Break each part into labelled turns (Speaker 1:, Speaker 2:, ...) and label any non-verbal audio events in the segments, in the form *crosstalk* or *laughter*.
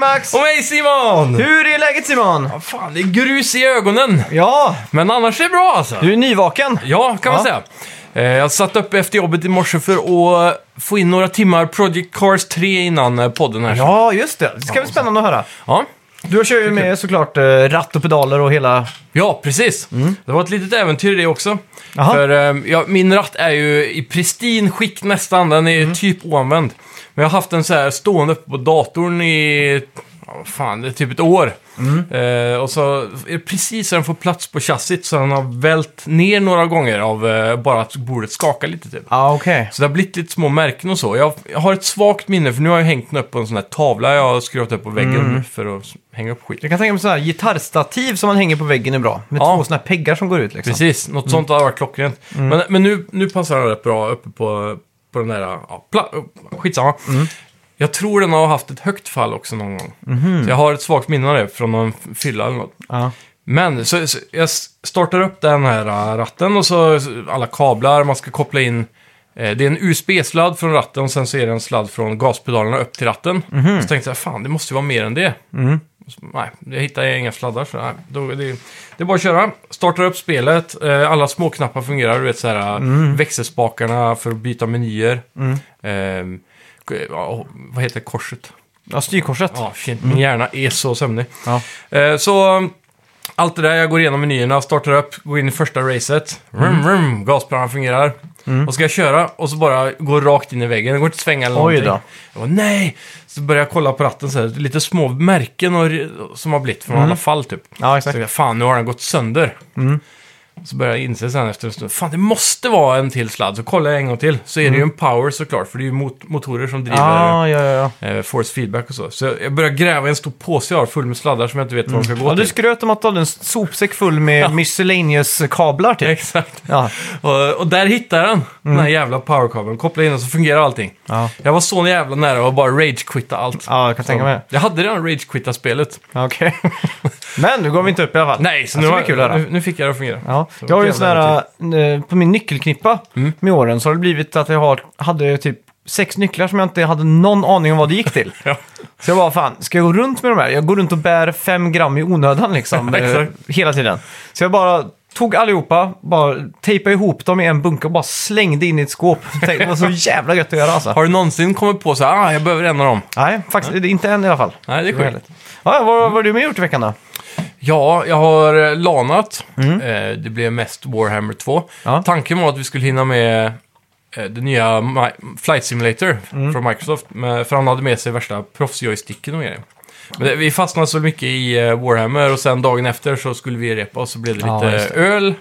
Speaker 1: dags!
Speaker 2: Och mig Simon!
Speaker 1: Hur är läget Simon?
Speaker 2: Vad Fan, det är grus i ögonen.
Speaker 1: Ja,
Speaker 2: Men annars är det bra alltså.
Speaker 1: du är nyvaken.
Speaker 2: Ja, kan man
Speaker 1: Ja.
Speaker 2: säga. Eh, Jag satt upp efter jobbet i morse för att eh, få in några timmar Project Cars 3 innan eh, podden här.
Speaker 1: Ja, just det. Det ska bli spännande att höra.
Speaker 2: Ja,
Speaker 1: Du kör ju med såklart eh, ratt och pedaler och hela...
Speaker 2: ja precis. Det var ett litet äventyr i det också.
Speaker 1: Jaha.
Speaker 2: För eh, ja, min ratt är ju i pristin skick nästan, den är typ oanvänd. Men jag har haft den så här stående uppe på datorn i, ja, vad fan, det är typ ett år. Eh, och så är det precis så den får plats på chassit så den har vält ner några gånger av eh, bara att bordet skakar lite typ.
Speaker 1: Ja, okej.
Speaker 2: Så det har blivit lite små märken och så. Jag, jag har ett svagt minne för nu har jag hängt den upp på en sån här tavla jag har skruvat upp på väggen för att s- hänga upp skit.
Speaker 1: Jag kan tänka mig sådana här gitarrstativ som man hänger på väggen är bra. Med
Speaker 2: Ja.
Speaker 1: två sådana här peggar som går ut liksom.
Speaker 2: Precis, något sånt hade varit klockrent. Men, men nu, nu passar den rätt bra uppe på, på den där... Ja, pla- skitsamma. Jag tror den har haft ett högt fall också någon gång. Så jag har ett svagt minne av det från någon f- fylla eller något.
Speaker 1: Ja.
Speaker 2: Men så, så jag s- startar upp den här äh, ratten och så så alla kablar, man ska koppla in. eh, Det är en USB-sladd från ratten och sen så är det en sladd från gaspedalerna upp till ratten. Så tänkte jag, fan det måste ju vara mer än det. Och Så, nej, jag hittar inga sladdar så nej, då, är det, det är bara att köra. Startar upp spelet, eh, alla småknappar fungerar, du vet så här äh, växelspakarna för att byta menyer. Ehm, k- ja, och- vad heter korset?
Speaker 1: Ja, styrkorset.
Speaker 2: Ja, shit, min hjärna är så sömnig.
Speaker 1: Ja.
Speaker 2: Eh, Så um, allt det där, jag går igenom menyerna, startar upp, går in i första racet. Vroom,
Speaker 1: Mm.
Speaker 2: vroom, gaspedalerna fungerar. Och ska jag köra och så bara går rakt in i väggen. Det går inte att svänga eller
Speaker 1: Oj
Speaker 2: någonting.
Speaker 1: då.
Speaker 2: Jag bara, nej! Så börjar jag kolla på ratten så här, lite små märken och, som har blivit från alla fall typ.
Speaker 1: Mm. Ja,
Speaker 2: Så
Speaker 1: exakt.
Speaker 2: tänkte
Speaker 1: Mm.
Speaker 2: jag, fan nu har den gått sönder. Så började jag inse sen efter en stund, fan det måste vara en till sladd. Så kollar jag en gång till, så är
Speaker 1: Mm.
Speaker 2: det ju en power såklart, för det är ju mot- motorer som driver
Speaker 1: Ja, ja, ja. ja.
Speaker 2: eh, force feedback och så. Så jag började gräva i en stor påse jag har full med sladdar som jag inte vet var de ska gå
Speaker 1: ja du
Speaker 2: till.
Speaker 1: skröt om att du hade en sopsäck full med miscellaneous-kablar
Speaker 2: *laughs*
Speaker 1: typ.
Speaker 2: Exakt.
Speaker 1: Ja.
Speaker 2: Och, och där hittade jag den, den här jävla powerkabeln. Kopplade in den så fungerar allting.
Speaker 1: Ja.
Speaker 2: Jag var så jävla nära att bara ragequitta allt.
Speaker 1: ja, jag kan tänka mig.
Speaker 2: Jag hade redan ragequittat spelet.
Speaker 1: Ja, Okej. *laughs* Men nu går vi inte upp i alla fall.
Speaker 2: Nej, så
Speaker 1: Ja,
Speaker 2: nu,
Speaker 1: det
Speaker 2: har,
Speaker 1: blir kul att höra.
Speaker 2: nu, nu fick jag det att fungera.
Speaker 1: Ja,
Speaker 2: Så
Speaker 1: jag har ju en sån
Speaker 2: jävla Mm.
Speaker 1: här, eh, på min nyckelknippa med åren så har det blivit att jag har, hade typ sex nycklar som jag inte hade någon aning om vad det gick till.
Speaker 2: *laughs* Ja.
Speaker 1: Så jag bara, fan, ska jag gå runt med de här? Jag går runt och bär fem gram i onödan liksom,
Speaker 2: *laughs* Ja,
Speaker 1: eh,
Speaker 2: exakt.
Speaker 1: hela tiden. Så jag bara tog allihopa, bara tejpade ihop dem i en bunke och bara slängde in i ett skåp. Tänkte, det var så jävla gött att göra alltså.
Speaker 2: Har du någonsin kommit på så här, ah, jag behöver en av dem?
Speaker 1: Nej, faktiskt inte än i alla fall.
Speaker 2: Nej, det är
Speaker 1: var
Speaker 2: sjukt.
Speaker 1: härligt. Ja, vad, vad har du med gjort i veckan då?
Speaker 2: Ja, jag har eh, lanat. Eh, det blev mest Warhammer 2.
Speaker 1: Ja.
Speaker 2: Tanken var att vi skulle hinna med eh, det nya Mi- Flight Simulator från Microsoft. Men, för han hade med sig värsta proffsjoysticken och grejer. Men det, vi fastnade så mycket i eh, Warhammer och sen dagen efter så skulle vi repa och så blev det
Speaker 1: Ja,
Speaker 2: lite
Speaker 1: just det.
Speaker 2: öl.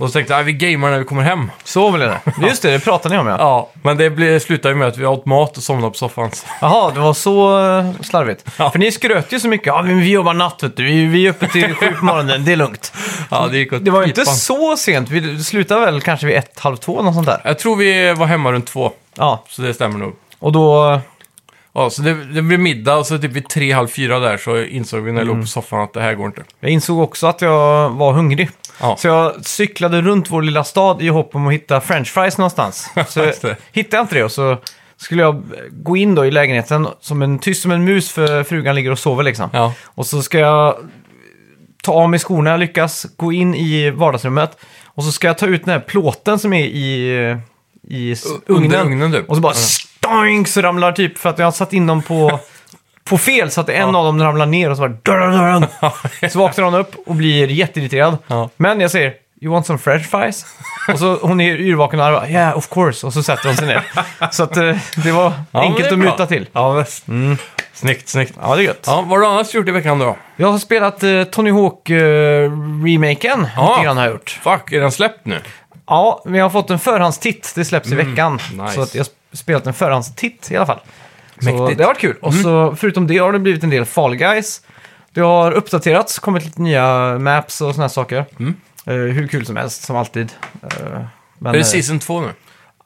Speaker 2: Och så tänkte jag, "Ah, vi gamar när vi kommer hem.
Speaker 1: Så blev det. Just det, det pratade ni om ja.
Speaker 2: Ja, men det blev, slutade ju med att vi åt mat och somnade på soffan.
Speaker 1: Jaha, det var så eh, slarvigt.
Speaker 2: Ja.
Speaker 1: För ni skröt ju så mycket. Ja, men vi jobbar natt, vet du. Vi, vi är uppe till sju på morgonen, det är lugnt.
Speaker 2: Ja, det gick åt
Speaker 1: Det var ju inte
Speaker 2: pipan.
Speaker 1: så sent. Vi slutade väl kanske vid ett, halv två, något sånt där.
Speaker 2: Jag tror vi var hemma runt två,
Speaker 1: Ja,
Speaker 2: så det stämmer nog.
Speaker 1: och då...
Speaker 2: Ja, så det, det blev middag och så typ vid tre, halv fyra där så insåg vi när jag
Speaker 1: Mm.
Speaker 2: låg på soffan att det här går inte.
Speaker 1: Jag insåg också att jag var hungrig.
Speaker 2: Ja.
Speaker 1: Så jag cyklade runt vår lilla stad i hopp om att hitta french
Speaker 2: *laughs*
Speaker 1: fries någonstans. Så
Speaker 2: Just det.
Speaker 1: hittade jag inte det och så skulle jag gå in då i lägenheten som en, tyst som en mus för frugan ligger och sover liksom.
Speaker 2: Ja.
Speaker 1: Och så ska jag ta av mig skorna, jag lyckas, gå in i vardagsrummet och så ska jag ta ut den här plåten som är i, i s-
Speaker 2: U- under
Speaker 1: ugnen.
Speaker 2: ugnen typ.
Speaker 1: Och så bara
Speaker 2: Ja.
Speaker 1: stoink så ramlar typ för att jag har satt in dem på, på fel så att en
Speaker 2: Ja.
Speaker 1: av dem ramlar ner och så bara
Speaker 2: *laughs*
Speaker 1: dörr, dörr, dörr. Så vaknar hon upp och blir jätteirriterad.
Speaker 2: Ja.
Speaker 1: Men jag säger You want some french fries? Och så hon är yrvaken och bara, yeah of course. Och så sätter hon sig ner. Så att eh, det var
Speaker 2: Ja, men
Speaker 1: enkelt
Speaker 2: det är
Speaker 1: att
Speaker 2: bra.
Speaker 1: muta till.
Speaker 2: Ja, visst. Snyggt, snyggt.
Speaker 1: Ja, det är gött.
Speaker 2: Ja, vad har du annars gjort i veckan då?
Speaker 1: Jag har spelat eh, Tony Hawk-remaken.
Speaker 2: Ja.
Speaker 1: lite grann har jag gjort.
Speaker 2: Fuck, är den släppt nu?
Speaker 1: Ja, men jag har fått en förhandstitt. Det släpps i veckan.
Speaker 2: Mm, nice.
Speaker 1: Så att jag har spelat en förhandstitt i alla fall. Så
Speaker 2: Mäktigt.
Speaker 1: det har varit kul.
Speaker 2: Mm.
Speaker 1: Och så förutom det har det blivit en del Fall Guys. Det har uppdaterats, kommit lite nya maps och såna här saker.
Speaker 2: Mm.
Speaker 1: Eh, hur kul som helst, som alltid. Eh, men,
Speaker 2: Är det
Speaker 1: eh,
Speaker 2: season 2 nu?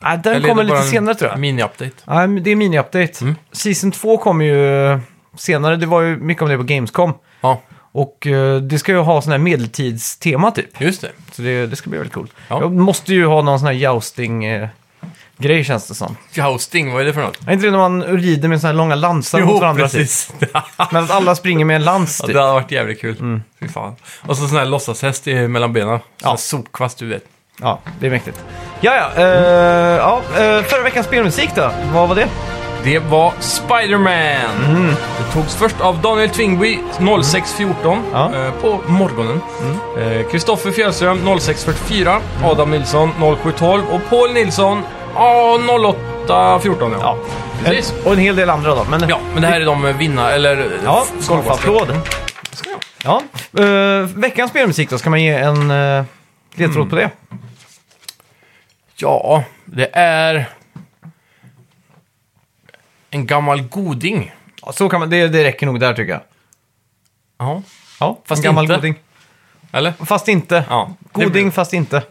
Speaker 1: nej, den
Speaker 2: Eller är
Speaker 1: kommer
Speaker 2: det bara
Speaker 1: lite
Speaker 2: en Mm.
Speaker 1: senare tror jag.
Speaker 2: Mini-update.
Speaker 1: Nej, men det är mini-update. Season 2 kommer ju senare. Det var ju mycket om det på Gamescom.
Speaker 2: Ja,
Speaker 1: Och eh, det ska ju ha sån här medeltidstema typ.
Speaker 2: just det.
Speaker 1: Så det, det ska bli väldigt coolt.
Speaker 2: Ja.
Speaker 1: Jag måste ju ha någon sån här jousting eh, grej känns det som.
Speaker 2: Jousting, vad är det för något?
Speaker 1: Är inte det när man rider med så här långa lansar mot varandra? Typ. Men att alla springer med en lans
Speaker 2: ja, *laughs*
Speaker 1: typ.
Speaker 2: det hade varit jävligt kul. Fy fan. Och så sån här låtsashäst i- mellan benen. Sån här
Speaker 1: Mm. Ja.
Speaker 2: sopkvast, du vet.
Speaker 1: Ja, det är mäktigt. Ja, ja. eh, ja eh, förra veckans spelmusik då? Vad var det?
Speaker 2: Det var Spider-Man!
Speaker 1: Mm.
Speaker 2: Det togs först av Daniel Tvingby 0614
Speaker 1: Ja. Mm.
Speaker 2: eh, på morgonen. Kristoffer Fjällström 0644, Adam Nilsson 0712 och Paul Nilsson ah, 0814. Ja.
Speaker 1: Ja.
Speaker 2: Precis.
Speaker 1: Eh, Och en hel del andra då. Men,
Speaker 2: Ja, men det här är de vinna, eller... eh,
Speaker 1: ja
Speaker 2: f-
Speaker 1: golfapplåd.
Speaker 2: Ska jag?
Speaker 1: Ja. eh, veckans spelmusik då, ska man ge en eh, ledtråd på det?
Speaker 2: Ja, det är... En gammal goding.
Speaker 1: Ja, Så kan man, det, det räcker nog där tycker jag.
Speaker 2: Ja,
Speaker 1: Ja,
Speaker 2: fast
Speaker 1: en gammal
Speaker 2: inte.
Speaker 1: goding.
Speaker 2: eller?
Speaker 1: Fast inte.
Speaker 2: Ja.
Speaker 1: Goding fast inte.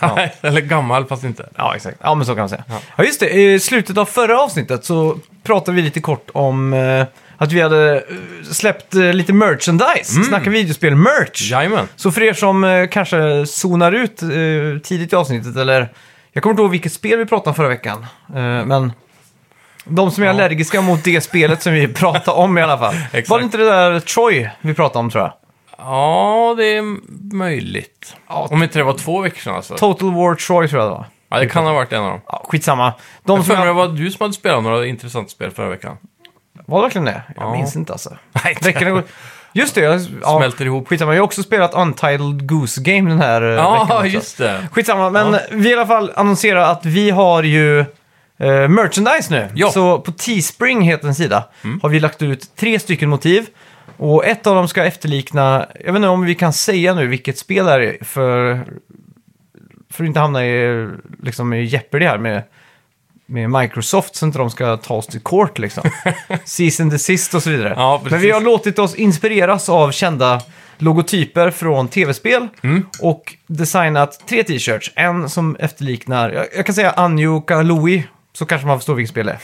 Speaker 1: Ja.
Speaker 2: *laughs* eller gammal, fast inte.
Speaker 1: Ja, exakt. Ja, men så kan man säga. Ja, just det. I slutet av förra avsnittet så pratade vi lite kort om eh, att vi hade eh, släppt eh, lite merchandise. Snacka videospel-merch.
Speaker 2: Jajamän.
Speaker 1: Så för er som eh, kanske zonar ut eh, tidigt i avsnittet, eller jag kommer inte ihåg vilket spel vi pratade om förra veckan, eh, men de som är allergiska mot det
Speaker 2: *laughs*
Speaker 1: spelet som vi pratade om i alla fall.
Speaker 2: Exakt.
Speaker 1: Var det inte det där Troy vi pratade om tror jag?
Speaker 2: Ja, det är möjligt.
Speaker 1: Ja,
Speaker 2: Om inte det var två veckor sedan alltså.
Speaker 1: Total War Troy tror jag det var.
Speaker 2: Ja, det kan ha varit en av dem.
Speaker 1: Ja, skitsamma. De
Speaker 2: Jag
Speaker 1: som
Speaker 2: för mig det
Speaker 1: jag...
Speaker 2: var du som hade spelat några intressanta spel förra veckan.
Speaker 1: Var det verkligen det? Jag
Speaker 2: Ja.
Speaker 1: minns inte alltså.
Speaker 2: *laughs* Nej,
Speaker 1: Veckorna går... Just det, jag... ja,
Speaker 2: Smälter ihop.
Speaker 1: skitsamma. Jag har också spelat Untitled Goose Game den här eh, veckan
Speaker 2: Ja,
Speaker 1: också.
Speaker 2: just det.
Speaker 1: Skitsamma, men vi i alla fall annonserar att vi har ju eh, merchandise nu.
Speaker 2: Ja.
Speaker 1: Så på Teespring heter en sida har vi lagt ut tre stycken motiv. Och ett av dem ska efterlikna, jag vet inte om vi kan säga nu vilket spel det här är för, för att inte hamna i, liksom, i Jeopardy här med, med Microsoft så inte de ska ta oss till
Speaker 2: *laughs*
Speaker 1: court liksom. Season desist och så vidare.
Speaker 2: Ja,
Speaker 1: Men vi
Speaker 2: precis.
Speaker 1: har låtit oss inspireras av kända logotyper från tv-spel
Speaker 2: Mm.
Speaker 1: och designat tre t-shirts. En som efterliknar, jag, jag kan säga Anjo Kalui, så kanske man förstår vilket spel det är.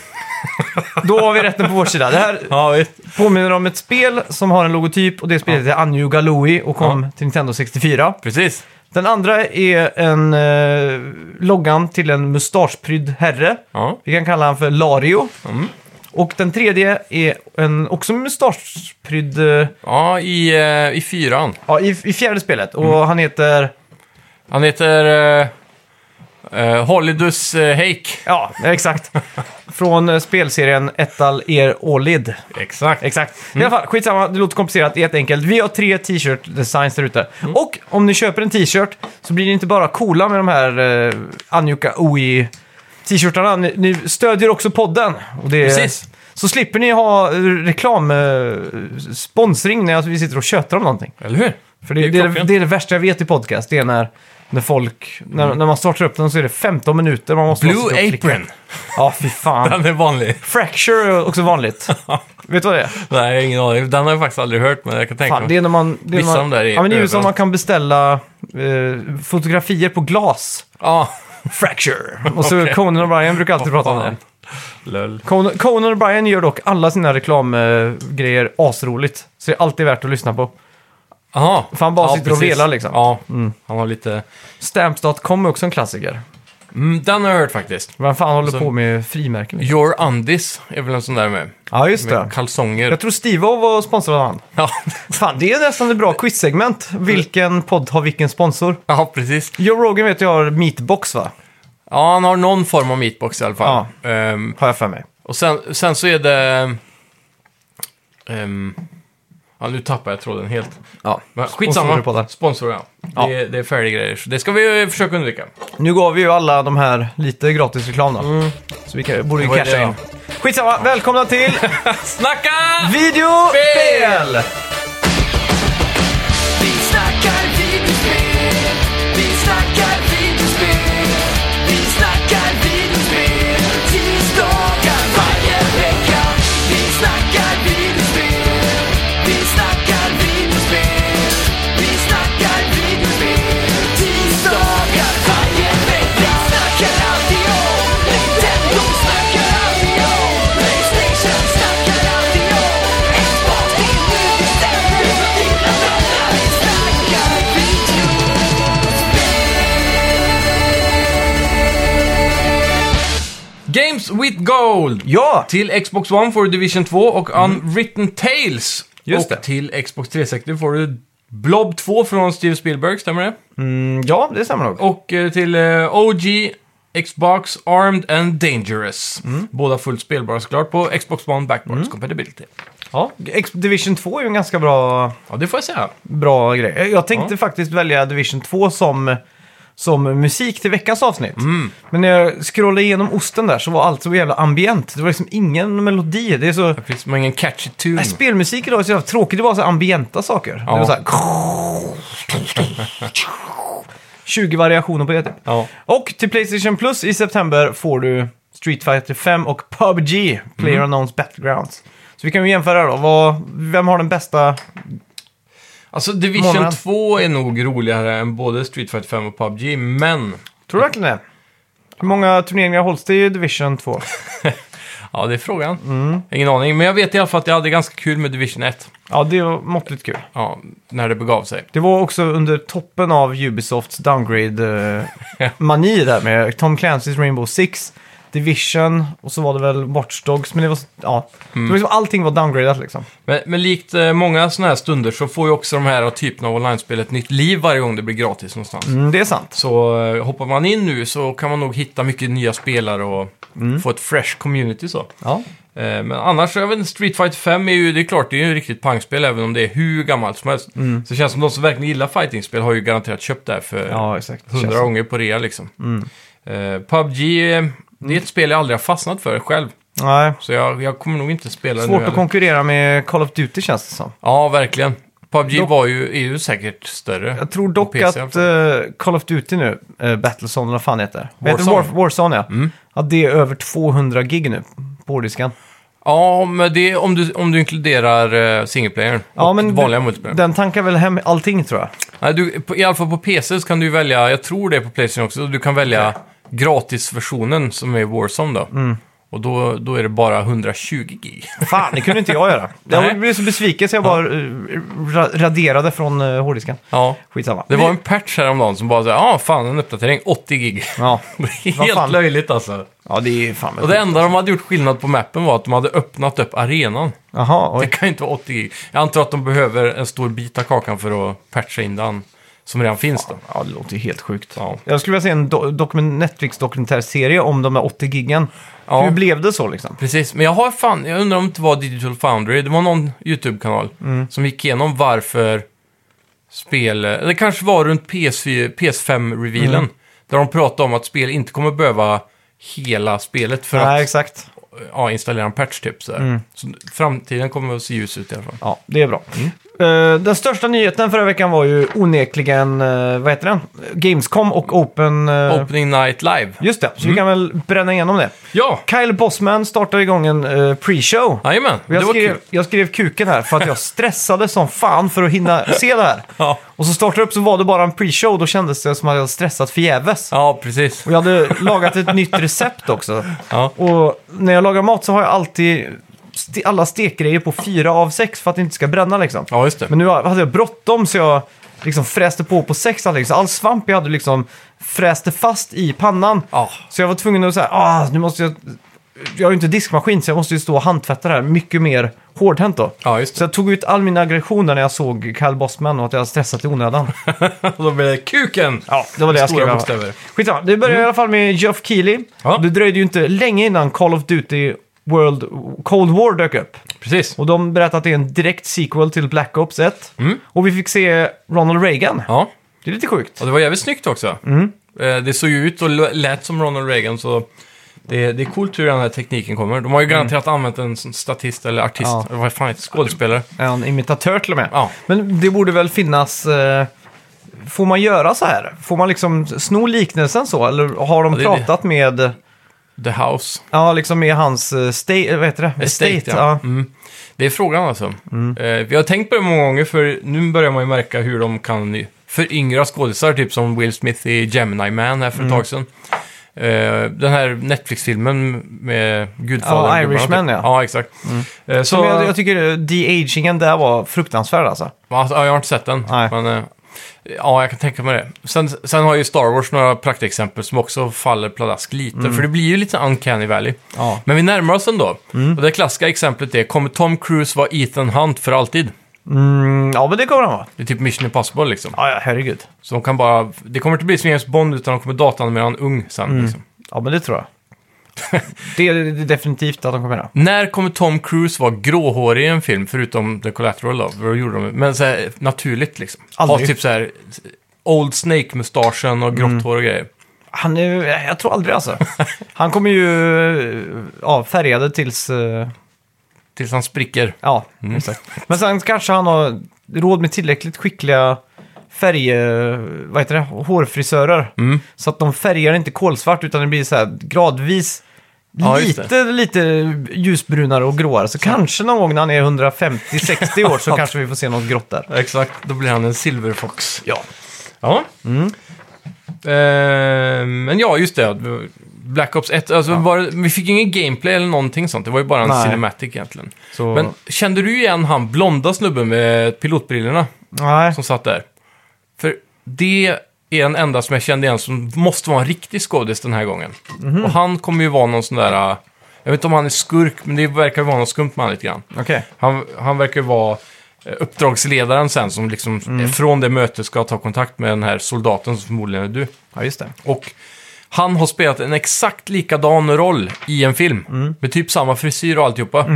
Speaker 2: *laughs*
Speaker 1: Då har vi rätten på vår sida. Det här
Speaker 2: Ja, visst.
Speaker 1: påminner om ett spel som har en logotyp och det spelet heter Anjo Galui och kom till Nintendo 64.
Speaker 2: Precis.
Speaker 1: Den andra är en eh, loggan till en mustaschprydd herre.
Speaker 2: Ja.
Speaker 1: Vi kan kalla han för Lario. Och den tredje är en också mustaschprydd, eh,
Speaker 2: Ja, i, eh, i fyran.
Speaker 1: ja, i, i fjärde spelet. Och han heter,
Speaker 2: Han heter... Eh, eh, Holidus eh, Hake.
Speaker 1: ja exakt, från eh, spelserien Etal Er Olid.
Speaker 2: Exakt.
Speaker 1: Exakt. I alla fall, skitsamma, det låter komplicerat, det är jätteenkelt. Vi har tre t-shirt-designs där ute. Och om ni köper en t-shirt så blir ni inte bara coola med de här eh, Anjuka Oi t-shirtarna. Ni, ni stödjer också podden. Och det,
Speaker 2: Precis.
Speaker 1: Så slipper ni ha eh, reklam, eh, sponsring när vi sitter och tjötar om någonting.
Speaker 2: Eller hur?
Speaker 1: För det, det,
Speaker 2: ju
Speaker 1: är, det,
Speaker 2: klockrent.
Speaker 1: det är det värsta jag vet i podcast, det är när, när folk, när, när man startar upp den så är det 15 minuter man måste sitta och
Speaker 2: Mm. Blue
Speaker 1: klicka.
Speaker 2: Apron.
Speaker 1: Ja, fy
Speaker 2: *laughs*
Speaker 1: fan.
Speaker 2: Den är vanlig.
Speaker 1: Fracture är
Speaker 2: *laughs*
Speaker 1: också vanligt. vet du vad det är?
Speaker 2: Nej, jag har ingen aning. Den har jag faktiskt aldrig hört, men jag kan tänka
Speaker 1: Fan,
Speaker 2: mig.
Speaker 1: det är när man... Det är när
Speaker 2: Vissa
Speaker 1: man,
Speaker 2: av de där är
Speaker 1: ja, men det är ju som
Speaker 2: överallt.
Speaker 1: man kan beställa eh, fotografier på glas.
Speaker 2: Ja.
Speaker 1: Fracture! Och så
Speaker 2: *laughs* Okej.
Speaker 1: Conan O'Brien brukar alltid prata om det.
Speaker 2: Löll.
Speaker 1: Conan, Conan O'Brien gör dock alla sina reklamgrejer asroligt. Så det är alltid värt att lyssna på.
Speaker 2: Jaha.
Speaker 1: För han bara sitter och velar, liksom.
Speaker 2: Ja, han har lite...
Speaker 1: Stamps.com är också en klassiker.
Speaker 2: Mm, den har jag hört faktiskt.
Speaker 1: Vem fan håller
Speaker 2: Så-
Speaker 1: på med frimärken?
Speaker 2: Your Undis är väl en sån där med.
Speaker 1: Ja, just det.
Speaker 2: Med kalsonger.
Speaker 1: Jag tror Steve-O var sponsrad av han.
Speaker 2: *laughs* Ja.
Speaker 1: Fan, det är nästan ett bra quizsegment. Vilken podd har vilken sponsor?
Speaker 2: ja, precis.
Speaker 1: Joe Rogan vet jag har Meatbox, va?
Speaker 2: Ja, han har någon form av meatbox i alla fall. Ehm,
Speaker 1: Har jag för mig.
Speaker 2: och sen, sen så är det... ehm, ja, nu tappar jag tråden helt.
Speaker 1: Ja.
Speaker 2: Men
Speaker 1: Sponsorer på
Speaker 2: skitsamma.
Speaker 1: där.
Speaker 2: Sponsorer, ja.
Speaker 1: Ja.
Speaker 2: Det, är- det är färdiga grejer. Så det ska vi eh, försöka undvika.
Speaker 1: Nu gav vi ju alla de här lite gratis reklam då. Så vi kan, borde ju
Speaker 2: Det var ju
Speaker 1: casha
Speaker 2: det,
Speaker 1: in. Skitsamma, välkomna *laughs* till
Speaker 2: Snacka!
Speaker 1: videospel!
Speaker 3: Vi snackar videospel, vi snackar videospel, vi snackar videospel, tisdagar varje vecka. Vi snackar videospel, vi snackar videospel, vi snackar videospel, tisdagar varje vecka. Vi snackar alltid om Nintendo, snackar alltid om Playstation, snackar alltid om Xbox, det är nu vi
Speaker 2: Games with Gold!
Speaker 1: Ja!
Speaker 2: Till Xbox One får du Division 2 och Unwritten Tales.
Speaker 1: Mm. Just
Speaker 2: och
Speaker 1: det.
Speaker 2: till Xbox 360 får du Blob 2 från Steve Spielberg, stämmer det?
Speaker 1: Mm, ja, det stämmer nog.
Speaker 2: Och eh, till eh, OG, Xbox, Armed and Dangerous. Båda fullt spelbara såklart på Xbox One Backwards Compatibility.
Speaker 1: Ja, Ex- Division 2 är ju en ganska bra,
Speaker 2: Ja, det får jag säga.
Speaker 1: bra grej. Jag- Jag tänkte
Speaker 2: Ja.
Speaker 1: faktiskt välja Division 2 som, som musik till veckans avsnitt.
Speaker 2: Mm.
Speaker 1: Men när jag scrollade igenom osten där så var allt så jävla ambient. Det var liksom ingen melodi. Det är så...
Speaker 2: Det finns ingen catchy tune.
Speaker 1: Nej, spelmusik idag är så jävla tråkigt. Det var så här ambienta saker.
Speaker 2: Ja.
Speaker 1: Det var så här... 20 variationer på det typ.
Speaker 2: Ja.
Speaker 1: Och till Playstation Plus i september får du Street Fighter 5 och PubG,
Speaker 2: Mm.
Speaker 1: Player Unknowns Battlegrounds. Så vi kan ju jämföra då. Vad, vem har den bästa?
Speaker 2: Alltså Division
Speaker 1: Månaden.
Speaker 2: 2 är nog roligare än både Street Fighter 5 och PubG, men...
Speaker 1: Tror du verkligen det? Hur många turneringar hålls det i Division 2?
Speaker 2: Ja, det är frågan. Ingen aning, men jag vet i alla fall att jag hade ganska kul med Division 1.
Speaker 1: Ja, det var måttligt kul.
Speaker 2: Ja, när det begav sig.
Speaker 1: Det var också under toppen av Ubisofts
Speaker 2: *laughs*
Speaker 1: downgrade-mani där med Tom Clancy's Rainbow Six, Division och så var det väl Watch Dogs. Men det var, så- ja.
Speaker 2: Mm.
Speaker 1: det var liksom, allting var downgradat liksom.
Speaker 2: Men, men likt eh, många sådana här stunder så får ju också de här typerna av online-spel ett nytt liv varje gång det blir gratis någonstans.
Speaker 1: Mm, det är sant.
Speaker 2: Så eh, hoppar man in nu så kan man nog hitta mycket nya spelare och
Speaker 1: Mm.
Speaker 2: få ett fresh community så.
Speaker 1: Ja.
Speaker 2: Eh, Men annars, jag vet inte, Street Fighter 5 är ju, det är klart, det är ju ett riktigt pangspel även om det är hur gammalt som helst.
Speaker 1: Mm.
Speaker 2: Så det känns som de som verkligen gillar fightingspel har ju garanterat köpt det här för
Speaker 1: ja, exakt.
Speaker 2: hundra
Speaker 1: Känns- Mm.
Speaker 2: gånger på rea liksom. Eh, PubG, eh, det är ett spel jag aldrig har fastnat för själv.
Speaker 1: Nej.
Speaker 2: Så jag, jag kommer nog inte spela det
Speaker 1: Svårt
Speaker 2: nu
Speaker 1: att
Speaker 2: heller.
Speaker 1: konkurrera med Call of Duty känns det som.
Speaker 2: Ja, verkligen. PubG
Speaker 1: Dock-
Speaker 2: var ju, är ju säkert större.
Speaker 1: Jag tror
Speaker 2: På
Speaker 1: dock
Speaker 2: PC i alla
Speaker 1: att eh, Call of Duty nu, uh, Battlezone, eller vad fan heter det? Heter det?
Speaker 2: Warzone. Mm.
Speaker 1: War, Warzone ja. Att det är över 200 gig nu på hårddisken.
Speaker 2: Ja, men det är om du, om du inkluderar eh, singleplayern
Speaker 1: Ja,
Speaker 2: och
Speaker 1: men
Speaker 2: vanliga multiplayer.
Speaker 1: Den tankar väl hem allting tror jag.
Speaker 2: Nej, du, på, I alla fall på PC så kan du ju välja, jag tror det är på Playstation också, du kan välja gratisversionen som är Warzone då. Och då, då är det bara 120 gig.
Speaker 1: Fan, det kunde inte jag göra.
Speaker 2: *laughs* Nej.
Speaker 1: Jag blev så besviken så jag bara eh, ra- raderade från uh, hårddisken.
Speaker 2: Ja.
Speaker 1: Skitsamma.
Speaker 2: *laughs* Det var en patch häromdagen som bara sa ja ah, fan en uppdatering, 80 gig.
Speaker 1: Ja.
Speaker 2: *laughs* Det är
Speaker 1: Vad
Speaker 2: Helt
Speaker 1: fan.
Speaker 2: löjligt alltså.
Speaker 1: ja, det är fan väl
Speaker 2: Och det enda de hade gjort skillnad på mappen var att de hade öppnat upp arenan.
Speaker 1: Jaha,
Speaker 2: Det
Speaker 1: oj.
Speaker 2: kan ju inte vara 80 gig. Jag antar att de behöver en stor bit av kakan för att patcha in den som redan finns då.
Speaker 1: Ja, det låter ju helt sjukt.
Speaker 2: Ja.
Speaker 1: Jag skulle vilja se en do- dokumen- Netflix-dokumentärserie om de här 80 giggen.
Speaker 2: Ja.
Speaker 1: Hur blev det så liksom?
Speaker 2: Precis, men jag har fan, jag undrar om det inte var Digital Foundry, det var någon YouTube-kanal
Speaker 1: Mm.
Speaker 2: som gick igenom varför spel, det kanske var runt PS4, PS5-revealen,
Speaker 1: Mm.
Speaker 2: där de pratade om att spel inte kommer behöva hela spelet för
Speaker 1: Nej, Mm.
Speaker 2: att
Speaker 1: exakt.
Speaker 2: ja, installera en patch typ sådär. Så framtiden kommer att se ljus ut i alla fall.
Speaker 1: Ja, det är bra.
Speaker 2: Mm.
Speaker 1: Eh, den största nyheten förra veckan var ju onekligen, eh, vad heter den? Gamescom och Open... eh,
Speaker 2: Opening Night Live.
Speaker 1: Just det, så
Speaker 2: Mm.
Speaker 1: vi kan väl bränna igenom det.
Speaker 2: Ja,
Speaker 1: Kyle Bossman startar igång en eh, pre-show.
Speaker 2: jajamän,
Speaker 1: Och Jag
Speaker 2: det var
Speaker 1: skrev,
Speaker 2: kul.
Speaker 1: jag skrev kuken här för
Speaker 2: *laughs*
Speaker 1: att jag stressade som fan för att hinna se det här.
Speaker 2: Ja.
Speaker 1: Och så startade jag upp så var det bara en pre-show, då kändes det som att jag hade stressat förgäves.
Speaker 2: ja, precis.
Speaker 1: Och jag hade lagat ett nytt recept också.
Speaker 2: Ja.
Speaker 1: Och när jag lagar mat så har jag alltid ste- alla stekgrejer på fyra av sex för att det inte ska bränna liksom.
Speaker 2: ja, just det.
Speaker 1: Men nu hade jag bråttom så jag liksom fräste på på sex allting. Så all svamp jag hade liksom fräste fast i pannan.
Speaker 2: Ja. *laughs*
Speaker 1: Så jag var tvungen att säga, ah, nu måste jag... Jag har ju inte diskmaskin så jag måste ju stå och handtvätta det här mycket mer hårdhänt då.
Speaker 2: Ja, just det.
Speaker 1: Så jag tog ut all min aggression där när jag såg Kyle Bossman och att jag hade stressat
Speaker 2: *laughs*
Speaker 1: i onödan.
Speaker 2: Och då blir det kuken!
Speaker 1: Ja, det var det jag
Speaker 2: Stora
Speaker 1: skrev.
Speaker 2: bokstäver. Mm.
Speaker 1: Skitsamma, det började i alla fall med Geoff Keighley.
Speaker 2: Ja.
Speaker 1: Det dröjde ju inte länge innan Call of Duty World Cold War dök upp.
Speaker 2: Precis.
Speaker 1: Och de berättade att det är en direkt sequel till Black Ops 1. Och vi fick se Ronald Reagan.
Speaker 2: Mm. Ja.
Speaker 1: Det är lite sjukt.
Speaker 2: Och det var jävligt snyggt också.
Speaker 1: Mm.
Speaker 2: Eh, Det såg ju ut och l- lät som Ronald Reagan, så det, det är coolt hur den här tekniken kommer. De har ju garanterat använt en sån statist eller artist,
Speaker 1: Mm. Ja.
Speaker 2: eller vad fan heter det? skådespelare.
Speaker 1: En imitatör till och med.
Speaker 2: Ja.
Speaker 1: Men det borde väl finnas... Eh, får man göra så här? Får man liksom sno liknelsen så? Eller har de
Speaker 2: Ja, det är det.
Speaker 1: pratat med...
Speaker 2: The House.
Speaker 1: Ja, liksom med hans... eh, Sta- vad heter det? ja. Mm.
Speaker 2: Mm. Det är frågan alltså. Eh, Vi har tänkt på det många gånger, för nu börjar man ju märka hur de kan ju föryngra skådisar, typ som Will Smith i Gemini Man här för ett
Speaker 1: Mm.
Speaker 2: tag sedan. Eh, Den här Netflix-filmen med Gudfadern.
Speaker 1: Ja, Irishman,
Speaker 2: typ.
Speaker 1: ja. Mm.
Speaker 2: Ja, exakt. Eh, Så,
Speaker 1: Men jag, jag tycker de-agingen där var fruktansvärd alltså.
Speaker 2: Ja, alltså, ja, jag har inte sett den.
Speaker 1: Nej.
Speaker 2: Men, eh, Ja, jag kan tänka mig det. Sen, sen har ju Star Wars några praktexempel som också faller pladask lite,
Speaker 1: Mm.
Speaker 2: för det blir ju lite uncanny valley.
Speaker 1: Ja.
Speaker 2: Men vi närmar oss ändå.
Speaker 1: Mm.
Speaker 2: Och det klassiska exemplet är, kommer Tom Cruise vara Ethan Hunt för alltid?
Speaker 1: Mm, ja, men det kommer han vara.
Speaker 2: Det är typ Mission Impossible liksom.
Speaker 1: Ja, ja, herregud.
Speaker 2: Så de kan bara, det kommer inte bli som James Bond utan de kommer datanimera han ung sen.
Speaker 1: Mm.
Speaker 2: Liksom.
Speaker 1: Ja, men det tror jag.
Speaker 2: *laughs*
Speaker 1: det är det är definitivt att de kommer göra.
Speaker 2: När kommer Tom Cruise vara gråhårig i en film, förutom The Collateral då? Vad gjorde de? Men så här, naturligt liksom.
Speaker 1: Aldrig. Mm.
Speaker 2: Ha typ så här Old Snake-mustaschen och grått hår och grejer.
Speaker 1: Han är, jag tror aldrig *laughs* alltså. Han kommer ju eh, ja, färgade tills... eh,
Speaker 2: Tills han spricker.
Speaker 1: Ja, exakt. Men sen kanske han har råd med tillräckligt skickliga färg... eh, Vad heter det? Hårfrisörer. Så att de färgar inte kolsvart utan det blir så här gradvis
Speaker 2: Ja, just
Speaker 1: lite, lite ljusbrunare och gråare. Så, kanske någon gång när han är *laughs* 150-60 år så kanske vi får se något grått där.
Speaker 2: Exakt, då blir han en silverfox.
Speaker 1: Ja.
Speaker 2: Ja. Mm. Eh, men ja, just det. Black Ops 1, alltså bara, vi fick ju ingen gameplay eller någonting sånt. Det var ju bara en
Speaker 1: Nej.
Speaker 2: cinematic egentligen.
Speaker 1: Så...
Speaker 2: Men kände du igen han blonda snubben med pilotbrillorna
Speaker 1: nej.
Speaker 2: som satt där? För det är en enda som jag kände igen som måste vara en riktig skådis den här gången. Och han kommer ju vara någon sån där... äh, Jag vet inte om han är skurk, men det verkar vara något skumt med han lite grann.
Speaker 1: Okej.
Speaker 2: Han, han verkar ju vara eh, uppdragsledaren sen som liksom
Speaker 1: Mm.
Speaker 2: eh, från det mötet ska ta kontakt med den här soldaten som förmodligen är du.
Speaker 1: Ja, just det.
Speaker 2: Och han har spelat en exakt likadan roll i en film.
Speaker 1: Mm.
Speaker 2: Med typ samma frisyr och alltihopa.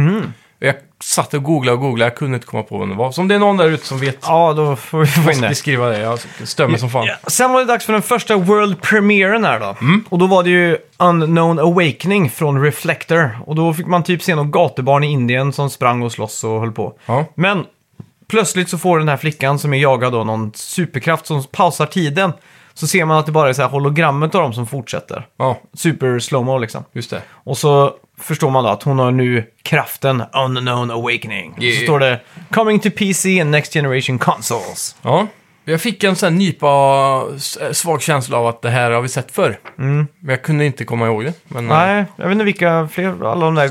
Speaker 2: Jag satt och googlade och googlade, jag kunde inte komma på vem det var. Så om det är någon där ute som vet,
Speaker 1: Ja, då får vi få in
Speaker 2: måste
Speaker 1: det.
Speaker 2: beskriva det. Jag stömer som fan.
Speaker 1: Ja. Sen var det dags för den första World Premieren här då.
Speaker 2: Mm.
Speaker 1: Och då var det ju Unknown Awakening från Reflector. Och då fick man typ se någon gatubarn i Indien som sprang och sloss och höll på.
Speaker 2: Ja.
Speaker 1: Men plötsligt så får den här flickan som är jagad av någon superkraft som pausar tiden. Så ser man att det bara är så här hologrammet av dem som fortsätter.
Speaker 2: ja,
Speaker 1: Super slowmo liksom.
Speaker 2: just det.
Speaker 1: Och så förstår man då att hon har nu kraften Unknown Awakening. Och
Speaker 2: Yeah.
Speaker 1: så står det Coming to PC and Next Generation Consoles.
Speaker 2: Ja. Jag fick en sån här nypa s- svag känsla av att det här har vi sett förr.
Speaker 1: Mm.
Speaker 2: Men jag kunde inte komma ihåg det. Men, eh,
Speaker 1: Nej, jag vet inte vilka fler, alla de där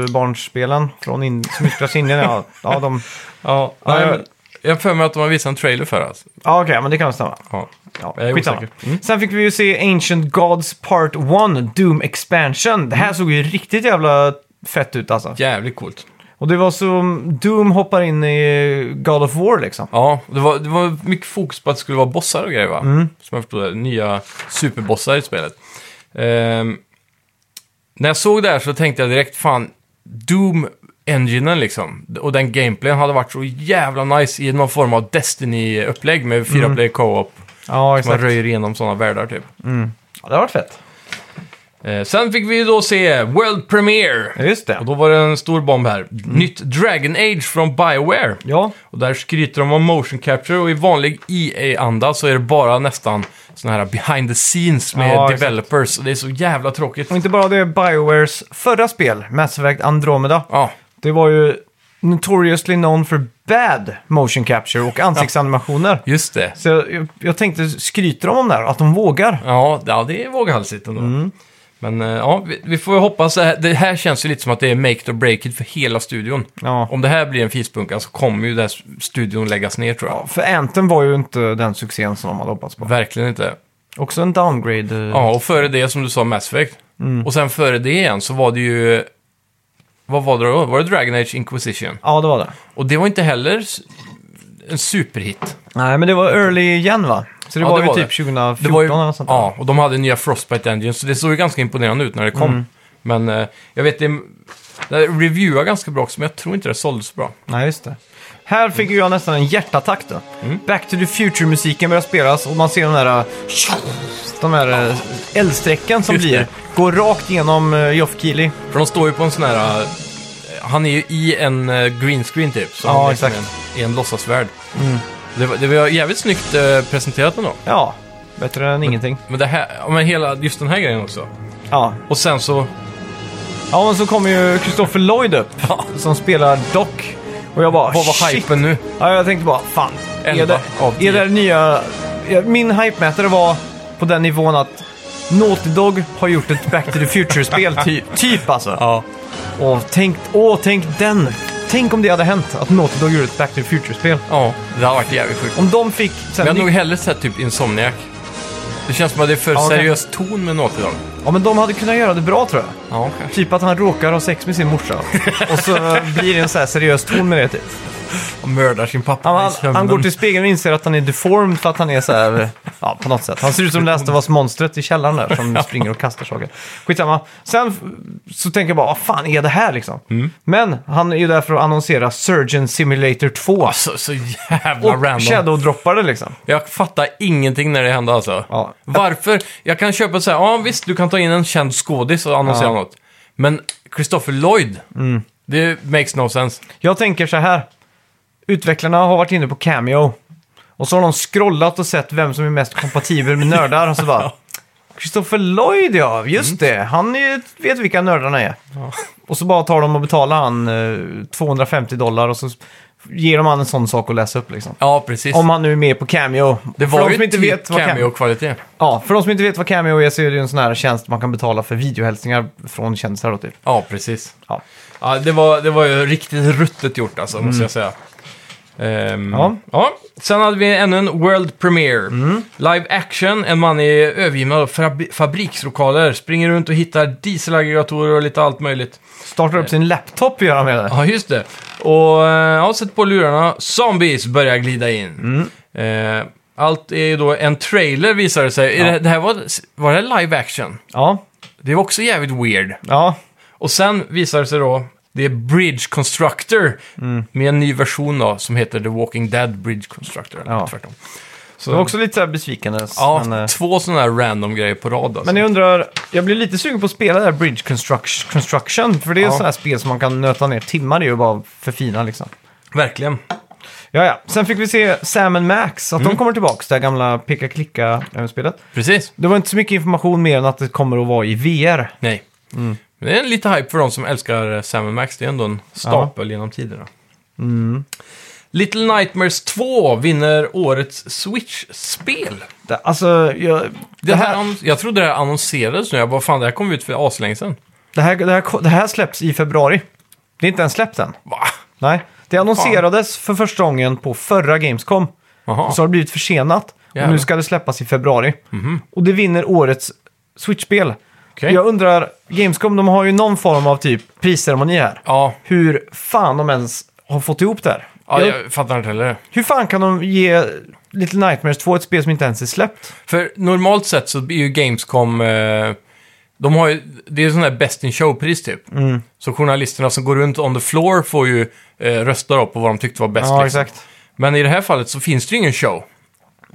Speaker 1: gatubarnsspelen från in, som utspelas i Indien. Ja, ja, de,
Speaker 2: Ja,
Speaker 1: Ja,
Speaker 2: nej,
Speaker 1: jag-
Speaker 2: men jag har för mig att de har visat en trailer för alltså.
Speaker 1: ja okej, men det kan väl stämma.
Speaker 2: Ja.
Speaker 1: Ja,
Speaker 2: Jag är
Speaker 1: skitsamma.
Speaker 2: osäker. Mm.
Speaker 1: Sen fick vi ju se Ancient Gods Part 1, Doom Expansion. Det här
Speaker 2: Mm.
Speaker 1: såg ju riktigt jävla fett ut alltså.
Speaker 2: Jävligt coolt.
Speaker 1: Och det var som Doom hoppar in i God of War liksom.
Speaker 2: Ja, det var, det var mycket fokus på att det skulle vara bossar och grejer va? Som jag förstod det, nya superbossar i spelet. Ehm, när jag såg det här så tänkte jag direkt, fan, Doom enginen liksom. Och den gameplayen hade varit så jävla nice i någon form av Destiny-upplägg med fyra player co-op.
Speaker 1: Ja,
Speaker 2: Man
Speaker 1: exakt.
Speaker 2: röjer igenom sådana världar typ.
Speaker 1: Ja, det har varit fett.
Speaker 2: Eh, sen fick vi ju då se World Premiere.
Speaker 1: Ja, Just
Speaker 2: Och
Speaker 1: det. Mm.
Speaker 2: då var det en stor bomb här. Nytt Dragon Age från Bioware.
Speaker 1: Ja,
Speaker 2: Och där skryter de om motion capture och i vanlig EA-anda så är det bara nästan såna här behind the scenes med
Speaker 1: Ja, exakt.
Speaker 2: developers. Och det är så jävla tråkigt.
Speaker 1: och inte bara det, Biowares förra spel, Mass Effect Andromeda.
Speaker 2: Ja,
Speaker 1: Det var ju notoriously known for bad motion capture och ansiktsanimationer.
Speaker 2: just det.
Speaker 1: Så jag, jag tänkte, skryter de om det här? Att de vågar?
Speaker 2: Ja, ja det är våghalsigt ändå.
Speaker 1: Mm.
Speaker 2: Men eh, ja, vi, vi får ju hoppas. Det här, det här känns ju lite som att det är make it or break it för hela studion.
Speaker 1: Ja.
Speaker 2: Om det här blir en fispunka så kommer ju den här studion läggas ner tror jag.
Speaker 1: För Anthem var ju inte den succén som de hade hoppats på.
Speaker 2: Verkligen inte.
Speaker 1: Också en downgrade. eh,
Speaker 2: Ja, och före det som du sa, Mass Effect.
Speaker 1: Mm.
Speaker 2: Och sen före det igen så var det ju... Vad var det då? Var det Dragon Age Inquisition?
Speaker 1: ja, det var det.
Speaker 2: Och det var inte heller s- en superhit.
Speaker 1: Nej, men det var early igen va? Så det
Speaker 2: Ja,
Speaker 1: var
Speaker 2: det
Speaker 1: ju
Speaker 2: var
Speaker 1: typ
Speaker 2: det.
Speaker 1: 2014
Speaker 2: Det var ju,
Speaker 1: eller något sånt där.
Speaker 2: ja, och de hade nya Frostbite Engine, så det såg ju ganska imponerande ut när det kom.
Speaker 1: Mm.
Speaker 2: Men eh, jag vet, det, det reviewade ganska bra också, men jag tror inte det sålde så bra.
Speaker 1: Nej, just det. Här fick ju jag nästan en hjärtattack då.
Speaker 2: Mm.
Speaker 1: Back to the Future-musiken börjar spelas och man ser de där... eh, De här eh, eldsträcken som
Speaker 2: Just
Speaker 1: blir.
Speaker 2: det.
Speaker 1: Går rakt genom eh, Geoff Keighley.
Speaker 2: För de står ju på en sån här... eh, Han är ju i en eh, green screen typ, så
Speaker 1: Ja,
Speaker 2: han är
Speaker 1: exakt. Mm.
Speaker 2: som en, i en låtsasvärld. Det, var, det var jävligt snyggt eh, presenterat ändå.
Speaker 1: Ja, bättre än ingenting.
Speaker 2: Men, det här, ja, men hela, just den här grejen också.
Speaker 1: Ja,
Speaker 2: Och sen så...
Speaker 1: Ja, men så kommer ju Christopher Lloyd upp
Speaker 2: Ja.
Speaker 1: som spelar Doc. Och jag bara,
Speaker 2: Vad var
Speaker 1: Ah, shit.
Speaker 2: hypen nu?
Speaker 1: Ja, jag tänkte bara, fan. Är
Speaker 2: Elva
Speaker 1: det,
Speaker 2: av tio.
Speaker 1: är det nya... ja, Min hypemätare var på den nivån att Naughty Dog har
Speaker 2: *laughs*
Speaker 1: gjort ett Back to the Future-spel, ty, typ alltså.
Speaker 2: Ja.
Speaker 1: Och tänk, åh, tänk den Tänk om det hade hänt, att Naughty Dog gjorde ett Back to the Future-spel.
Speaker 2: Ja, det har varit jävligt sjukt.
Speaker 1: Om de fick... Sen,
Speaker 2: Men jag hade nog hellre sett typ Insomniac. Det känns som att det är för
Speaker 1: Ja,
Speaker 2: seriös ton med Naughty Dog.
Speaker 1: Ja, men de hade kunnat göra det bra tror jag.
Speaker 2: Ja, kanske.
Speaker 1: Typ att han råkar ha sex med sin
Speaker 2: *laughs*
Speaker 1: morsa. Och så blir det en så här seriös ton med det typ.
Speaker 2: Och mördar sin pappa i
Speaker 1: Han, han,
Speaker 2: sömnen.
Speaker 1: han går till spegeln och inser att han är deformed för att han är så här, *laughs* ja på något sätt. Han ser ut som läste vars monstret i källaren
Speaker 2: *laughs*
Speaker 1: där som springer och kastar saker. Skitsamma. Sen f- så tänker jag bara, vad fan är det här liksom?
Speaker 2: Mm.
Speaker 1: Men han är ju där för att annonsera Surgeon Simulator 2.
Speaker 2: Så, så Alltså, jävla random.
Speaker 1: Och shadow-droppar det liksom.
Speaker 2: Jag fattar ingenting när det hände alltså.
Speaker 1: Ja.
Speaker 2: Varför? Jag kan köpa så här, ja visst du kan ta in en känd skådis och annonsera
Speaker 1: Ja. Mm.
Speaker 2: något. Men Christopher Lloyd, det makes no sense.
Speaker 1: Jag tänker så här. Utvecklarna har varit inne på Cameo. Och så har de scrollat och sett vem som är mest kompatibel med nördar. Och
Speaker 2: *laughs*
Speaker 1: så bara... Christopher Lloyd ja, just
Speaker 2: Mm.
Speaker 1: det. Han är, ju- vet vilka nördarna är. Och så bara tar de och betalar han eh, 250 dollar och så ger de han en sån sak att läsa upp liksom.
Speaker 2: Ja, precis.
Speaker 1: Om han nu är med på Cameo.
Speaker 2: det
Speaker 1: för
Speaker 2: var
Speaker 1: de
Speaker 2: ju
Speaker 1: som inte
Speaker 2: typ
Speaker 1: vet vad Cameo...
Speaker 2: cameo-kvalitet.
Speaker 1: Ja, för de som inte vet vad Cameo är så är det ju en sån här tjänst man kan betala för videohälsningar från kändisar då typ.
Speaker 2: Ja, precis.
Speaker 1: Ja.
Speaker 2: Ja, det var, det var ju riktigt ruttet gjort alltså, måste jag säga. Ehm,
Speaker 1: Ja.
Speaker 2: ja. Sen hade vi ännu en World Premiere. Live action, en man i övergivna fabri- fabrikslokaler. Springer runt och hittar dieselaggregatorer och lite allt möjligt.
Speaker 1: Startar upp sin laptop gör han med det.
Speaker 2: Ja, just det. Och eh, ja, sätt på lurarna. Zombies börjar glida in. Eh, allt är ju då en trailer visar det sig. Är Det, det här var, var det här live action?
Speaker 1: Ja,
Speaker 2: Det var också jävligt weird.
Speaker 1: ja.
Speaker 2: Och sen visar det sig då, det är Bridge Constructor
Speaker 1: Mm.
Speaker 2: med en ny version då som heter The Walking Dead Bridge Constructor. Eller
Speaker 1: Ja.
Speaker 2: tvärtom.
Speaker 1: Det
Speaker 2: Så,
Speaker 1: var också lite så här besvikande.
Speaker 2: ja,
Speaker 1: men, eh,
Speaker 2: två sådana här random grejer på rad alltså.
Speaker 1: men jag undrar, jag blir lite sugen på att spela det här Bridge Construct- Construction. För det är
Speaker 2: Ja.
Speaker 1: ja. sådana här spel som man kan nöta ner timmar i och bara förfina liksom.
Speaker 2: Verkligen.
Speaker 1: Ja, ja. Sen fick vi se Sam and Max, att
Speaker 2: Mm.
Speaker 1: de kommer tillbaka, det här gamla peka-klicka-spelet.
Speaker 2: Precis.
Speaker 1: Det var inte så mycket information mer än att det kommer att vara i VR.
Speaker 2: Nej.
Speaker 1: Mm.
Speaker 2: Men det är en lite hype för de som älskar eh, Sam Max. Det är ändå en stapel genom tiderna.
Speaker 1: Mm.
Speaker 2: Little Nightmares 2 vinner årets Switch-spel.
Speaker 1: Det, alltså, jag,
Speaker 2: Det här, annon- jag trodde det här annonserades nu. Jag bara, fan det här kom ut för aslänge sedan.
Speaker 1: det, här, det, här, det här släpps i februari. Det är inte ens släppt än.
Speaker 2: Va?
Speaker 1: Nej, det annonserades för första gången på förra Gamescom.
Speaker 2: Jaha.
Speaker 1: Och så har det blivit försenat. Och
Speaker 2: Jävlar. Mhm.
Speaker 1: nu ska det släppas i februari. Och det vinner årets Switch-spel.
Speaker 2: Okej.
Speaker 1: Jag undrar, Gamescom de har ju någon form av typ prisceremoni här.
Speaker 2: Ja,
Speaker 1: Hur fan de ens har fått ihop det här.
Speaker 2: ja
Speaker 1: Jag-
Speaker 2: jag fattar inte heller.
Speaker 1: Hur fan kan de ge Little Nightmares 2 ett spel som inte ens är släppt?
Speaker 2: För normalt sett så är ju Gamescom... Eh, de har ju, det är sån där Best in Show-pris typ.
Speaker 1: Mm.
Speaker 2: Så journalisterna som går runt on the floor får ju eh, rösta då på vad de tyckte var bäst.
Speaker 1: Ja,
Speaker 2: liksom.
Speaker 1: exakt.
Speaker 2: Men i det här fallet så finns det ju ingen show.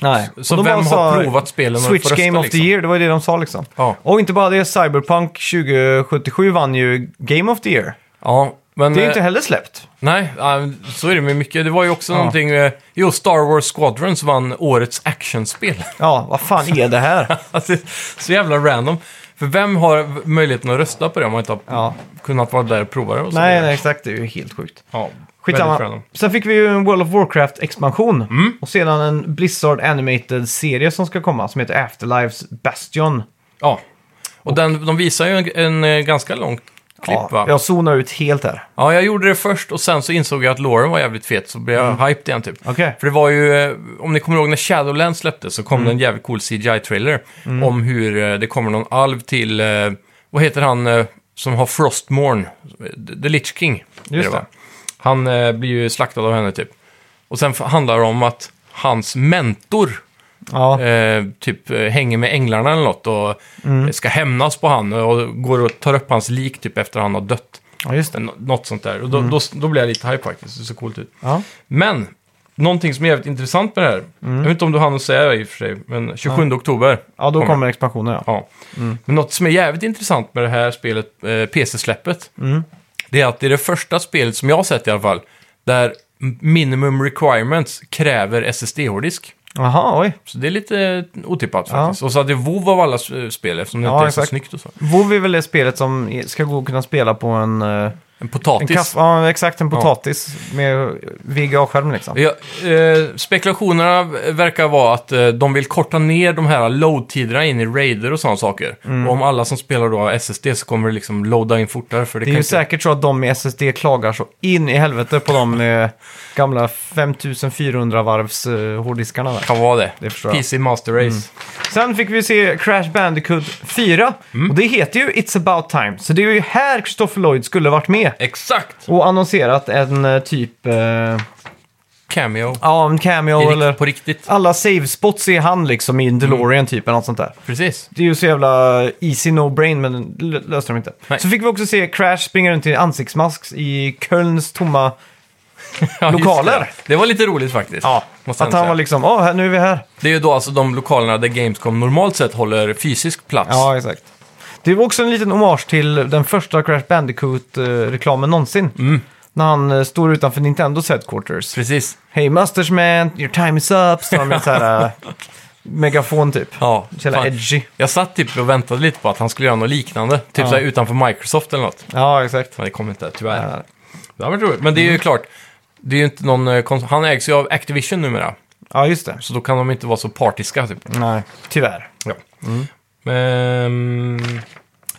Speaker 1: Nej.
Speaker 2: Så
Speaker 1: Och de
Speaker 2: vem
Speaker 1: bara
Speaker 2: har
Speaker 1: sa,
Speaker 2: provat spelen och
Speaker 1: Switch
Speaker 2: får rösta,
Speaker 1: Game of
Speaker 2: liksom?
Speaker 1: the Year, det var ju det de sa liksom.
Speaker 2: Ja.
Speaker 1: Och inte bara det, Cyberpunk 2077 vann ju Game of the Year.
Speaker 2: Ja, men...
Speaker 1: Det är ju
Speaker 2: eh,
Speaker 1: inte heller släppt.
Speaker 2: Nej, ja, så är det med mycket. Det var ju också
Speaker 1: Ja.
Speaker 2: någonting... eh, Jo, Star Wars Squadrons vann årets actionspel. *laughs*
Speaker 1: Ja, vad fan är det här?
Speaker 2: alltså, så jävla random. För vem har möjligheten att rösta på det om man inte har
Speaker 1: Ja.
Speaker 2: kunnat vara där och prova det? Och så
Speaker 1: nej,
Speaker 2: vidare?
Speaker 1: nej, exakt. Det är ju helt sjukt.
Speaker 2: Ja, väldigt
Speaker 1: Skitsamma.
Speaker 2: random.
Speaker 1: Sen fick vi ju en World of Warcraft-expansion. Och sedan en Blizzard Animated-serie som ska komma som heter Afterlives Bastion.
Speaker 2: Ja. Och den, de visar ju en, en eh, ganska lång klipp
Speaker 1: Ja,
Speaker 2: va?
Speaker 1: jag zonar ut helt här.
Speaker 2: Ja, jag gjorde det först och sen så insåg jag att Lauren var jävligt fet så blev jag hyped igen typ.
Speaker 1: Mm. Okej.
Speaker 2: För det var ju, eh, om ni kommer ihåg när Shadowlands släpptes så kom det
Speaker 1: Mm.
Speaker 2: en jävligt cool CGI-trailer om hur eh, det kommer någon alv till, eh, vad heter han eh, som har Frostmorn? The The Lich King. är
Speaker 1: Just
Speaker 2: va?
Speaker 1: det.
Speaker 2: Han eh, blir ju slaktad av henne typ. Och sen f- handlar det om att hans mentor
Speaker 1: Ja.
Speaker 2: eh, typ eh, hänger med änglarna eller något och
Speaker 1: Mm.
Speaker 2: eh, ska hämnas på han och går och tar upp hans lik typ efter han har dött.
Speaker 1: ja, just det.
Speaker 2: Nå- Något sånt där. Och då,
Speaker 1: Mm.
Speaker 2: då, då blir jag lite hype faktiskt. Det ser coolt ut.
Speaker 1: Ja.
Speaker 2: Men, någonting som är jävligt intressant med det här. Jag vet inte om du hann att säga det i och för sig, men 27 oktober.
Speaker 1: Mm. ja, då kommer Mm. expansionen ja.
Speaker 2: Ja. Men något som är jävligt intressant med det här spelet, eh, PC-släppet,
Speaker 1: Mm.
Speaker 2: det är att det är det första spelet som jag har sett i alla fall, där minimum requirements kräver SSD-hårddisk.
Speaker 1: Jaha, oj.
Speaker 2: Så det är lite otippat faktiskt. Och så hade WoW av alla s- spel eftersom det
Speaker 1: Ja,
Speaker 2: inte är så
Speaker 1: exakt.
Speaker 2: snyggt och så.
Speaker 1: WoW är väl det spelet som ska gå och kunna spela på en eh,
Speaker 2: En
Speaker 1: En
Speaker 2: potatis.
Speaker 1: kaffe, ja, exakt, en potatis med VGA-skärm liksom.
Speaker 2: Ja, eh, spekulationerna verkar vara att eh, de vill korta ner de här load-tiderna in i raider och sådana saker.
Speaker 1: Mm.
Speaker 2: Och om alla som spelar då har SSD så kommer det liksom loada in fortare. För det,
Speaker 1: Det
Speaker 2: kan
Speaker 1: är ju
Speaker 2: inte...
Speaker 1: säkert så att de med SSD klagar så in i helvete på de eh, gamla 5400 varvs eh, hårddiskarna där.
Speaker 2: kan vara det.
Speaker 1: Det förstår jag. Mm.
Speaker 2: PC Master Race.
Speaker 1: Sen fick vi se Crash Bandicoot 4.
Speaker 2: Mm.
Speaker 1: Och det heter ju It's about time. Så det är ju här Christopher Lloyd skulle varit med.
Speaker 2: Exakt!
Speaker 1: Och annonserat en eh, typ... Eh,
Speaker 2: Cameo.
Speaker 1: ja, en
Speaker 2: I
Speaker 1: cameo
Speaker 2: rikt-
Speaker 1: eller...
Speaker 2: På riktigt.
Speaker 1: Alla save spots är han liksom i en DeLorean typ eller något sånt där.
Speaker 2: Precis. *laughs*
Speaker 1: Det är ju så jävla easy no brain men l- löste de inte.
Speaker 2: Nej.
Speaker 1: Så fick vi också se Crash springa runt i ansiktsmask i Kölns tomma...
Speaker 2: Ja, just
Speaker 1: Lokaler.
Speaker 2: Det. det var lite roligt faktiskt. måste jag
Speaker 1: att han
Speaker 2: säga.
Speaker 1: var liksom, åh, här- nu är vi här.
Speaker 2: Det är ju då alltså de lokalerna där Gamescom normalt sett håller fysisk plats.
Speaker 1: Ja, exakt. Det var också en liten hommage till den första Crash Bandicoot-reklamen någonsin. När han eh, står utanför Nintendos headquarters.
Speaker 2: Precis.
Speaker 1: Hey Musters man, your time is up. Så har de en sån här eh, megafon typ.
Speaker 2: Ja,
Speaker 1: Så jävla
Speaker 2: fan.
Speaker 1: edgy.
Speaker 2: Jag satt typ och väntade lite på att han skulle göra något liknande. Typ
Speaker 1: Ja.
Speaker 2: så här utanför Microsoft eller något.
Speaker 1: Ja, exakt.
Speaker 2: Men det kom inte, tyvärr.
Speaker 1: Ja. Mm.
Speaker 2: Det hade varit roligt. Men det är ju klart, det är ju inte någon, eh, kons- han ägs ju av Activision numera.
Speaker 1: Ja, just det.
Speaker 2: Så då kan de inte vara så partiska typ.
Speaker 1: Nej, tyvärr.
Speaker 2: Ja.
Speaker 1: Mm.
Speaker 2: Ehm, Men,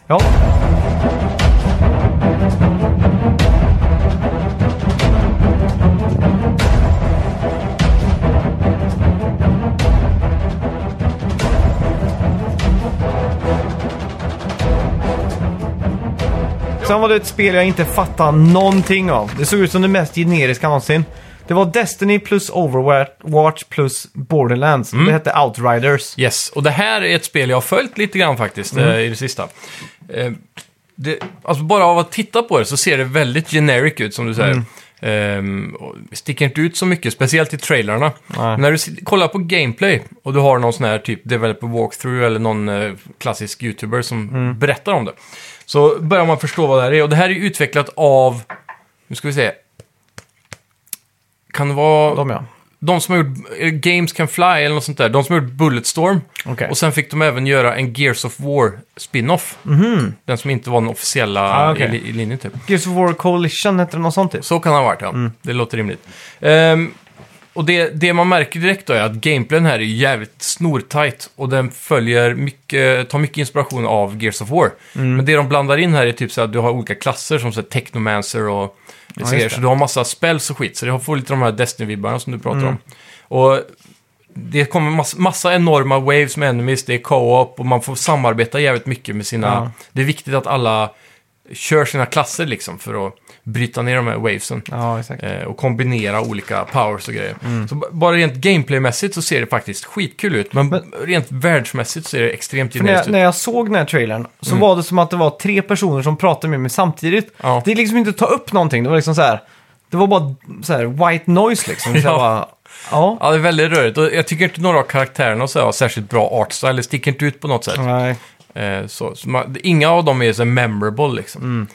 Speaker 1: Ja, Sen var det ett spel jag inte fattade någonting av. Det såg ut som det mest generiska någonsin. Det var Destiny plus Overwatch plus Borderlands. Det hette Outriders.
Speaker 2: yes. Och det här är ett spel jag har följt lite grann faktiskt eh, i det sista. Eh, det, alltså bara av att titta på det så ser det väldigt generic ut som du säger. Ehm, och sticker inte ut så mycket, speciellt i trailerna. Men när du sit- kollar på gameplay och du har någon sån här typ developer walkthrough eller någon eh, klassisk youtuber som berättar om det. Så börjar man förstå vad det här är. Och det här är utvecklat av, nu ska vi se. Kan det vara...
Speaker 1: De ja.
Speaker 2: De som har gjort eh, Games Can Fly eller något sånt där. De som har gjort Bulletstorm.
Speaker 1: Okej.
Speaker 2: Och sen fick de även göra en Gears of War spin-off. Den som inte var den officiella
Speaker 1: Mhm. Ah, okej.
Speaker 2: i, li- i linjen typ.
Speaker 1: Gears of War Coalition hette det något sånt typ.
Speaker 2: Så kan det ha varit, ja. Det låter rimligt. Ehm, och det, det man märker direkt då är att gameplayen här är jävligt snortajt. Och den följer mycket, tar mycket inspiration av Gears of War.
Speaker 1: Mm.
Speaker 2: Men det de blandar in här är typ så att du har olika klasser som så här, Technomancer och
Speaker 1: Ja,
Speaker 2: så,
Speaker 1: just det.
Speaker 2: så du har massa spells och skit. Så det får lite de här Destiny-vibbarna som du pratar
Speaker 1: Mm.
Speaker 2: om. Och det kommer massa, massa enorma waves med enemies, det är co-op och man får samarbeta jävligt mycket med sina...
Speaker 1: Ja.
Speaker 2: Det är viktigt att alla kör sina klasser liksom för att bryta ner de här wavesen.
Speaker 1: Ja, Mm. exakt.
Speaker 2: Eh, och kombinera olika powers och grejer. Så b- bara rent gameplaymässigt så ser det faktiskt skitkul ut. Men,
Speaker 1: Men-
Speaker 2: rent världsmässigt så ser det extremt
Speaker 1: För när,
Speaker 2: generiskt
Speaker 1: jag,
Speaker 2: ut.
Speaker 1: när jag såg den här trailern så
Speaker 2: Mm.
Speaker 1: var det som att det var tre personer som pratade med mig samtidigt.
Speaker 2: Ja.
Speaker 1: Det är liksom inte att ta upp någonting. Det var liksom så här. Det var bara så här white noise liksom. Så
Speaker 2: *laughs* Ja.
Speaker 1: jag bara, ja.
Speaker 2: Ja, det är väldigt rörigt. Och jag tycker inte några av karaktärerna och så här har särskilt bra artstyle. Det sticker inte ut på något sätt.
Speaker 1: Nej.
Speaker 2: Eh, så, så man, inga av dem är så memorable liksom.
Speaker 1: Mm.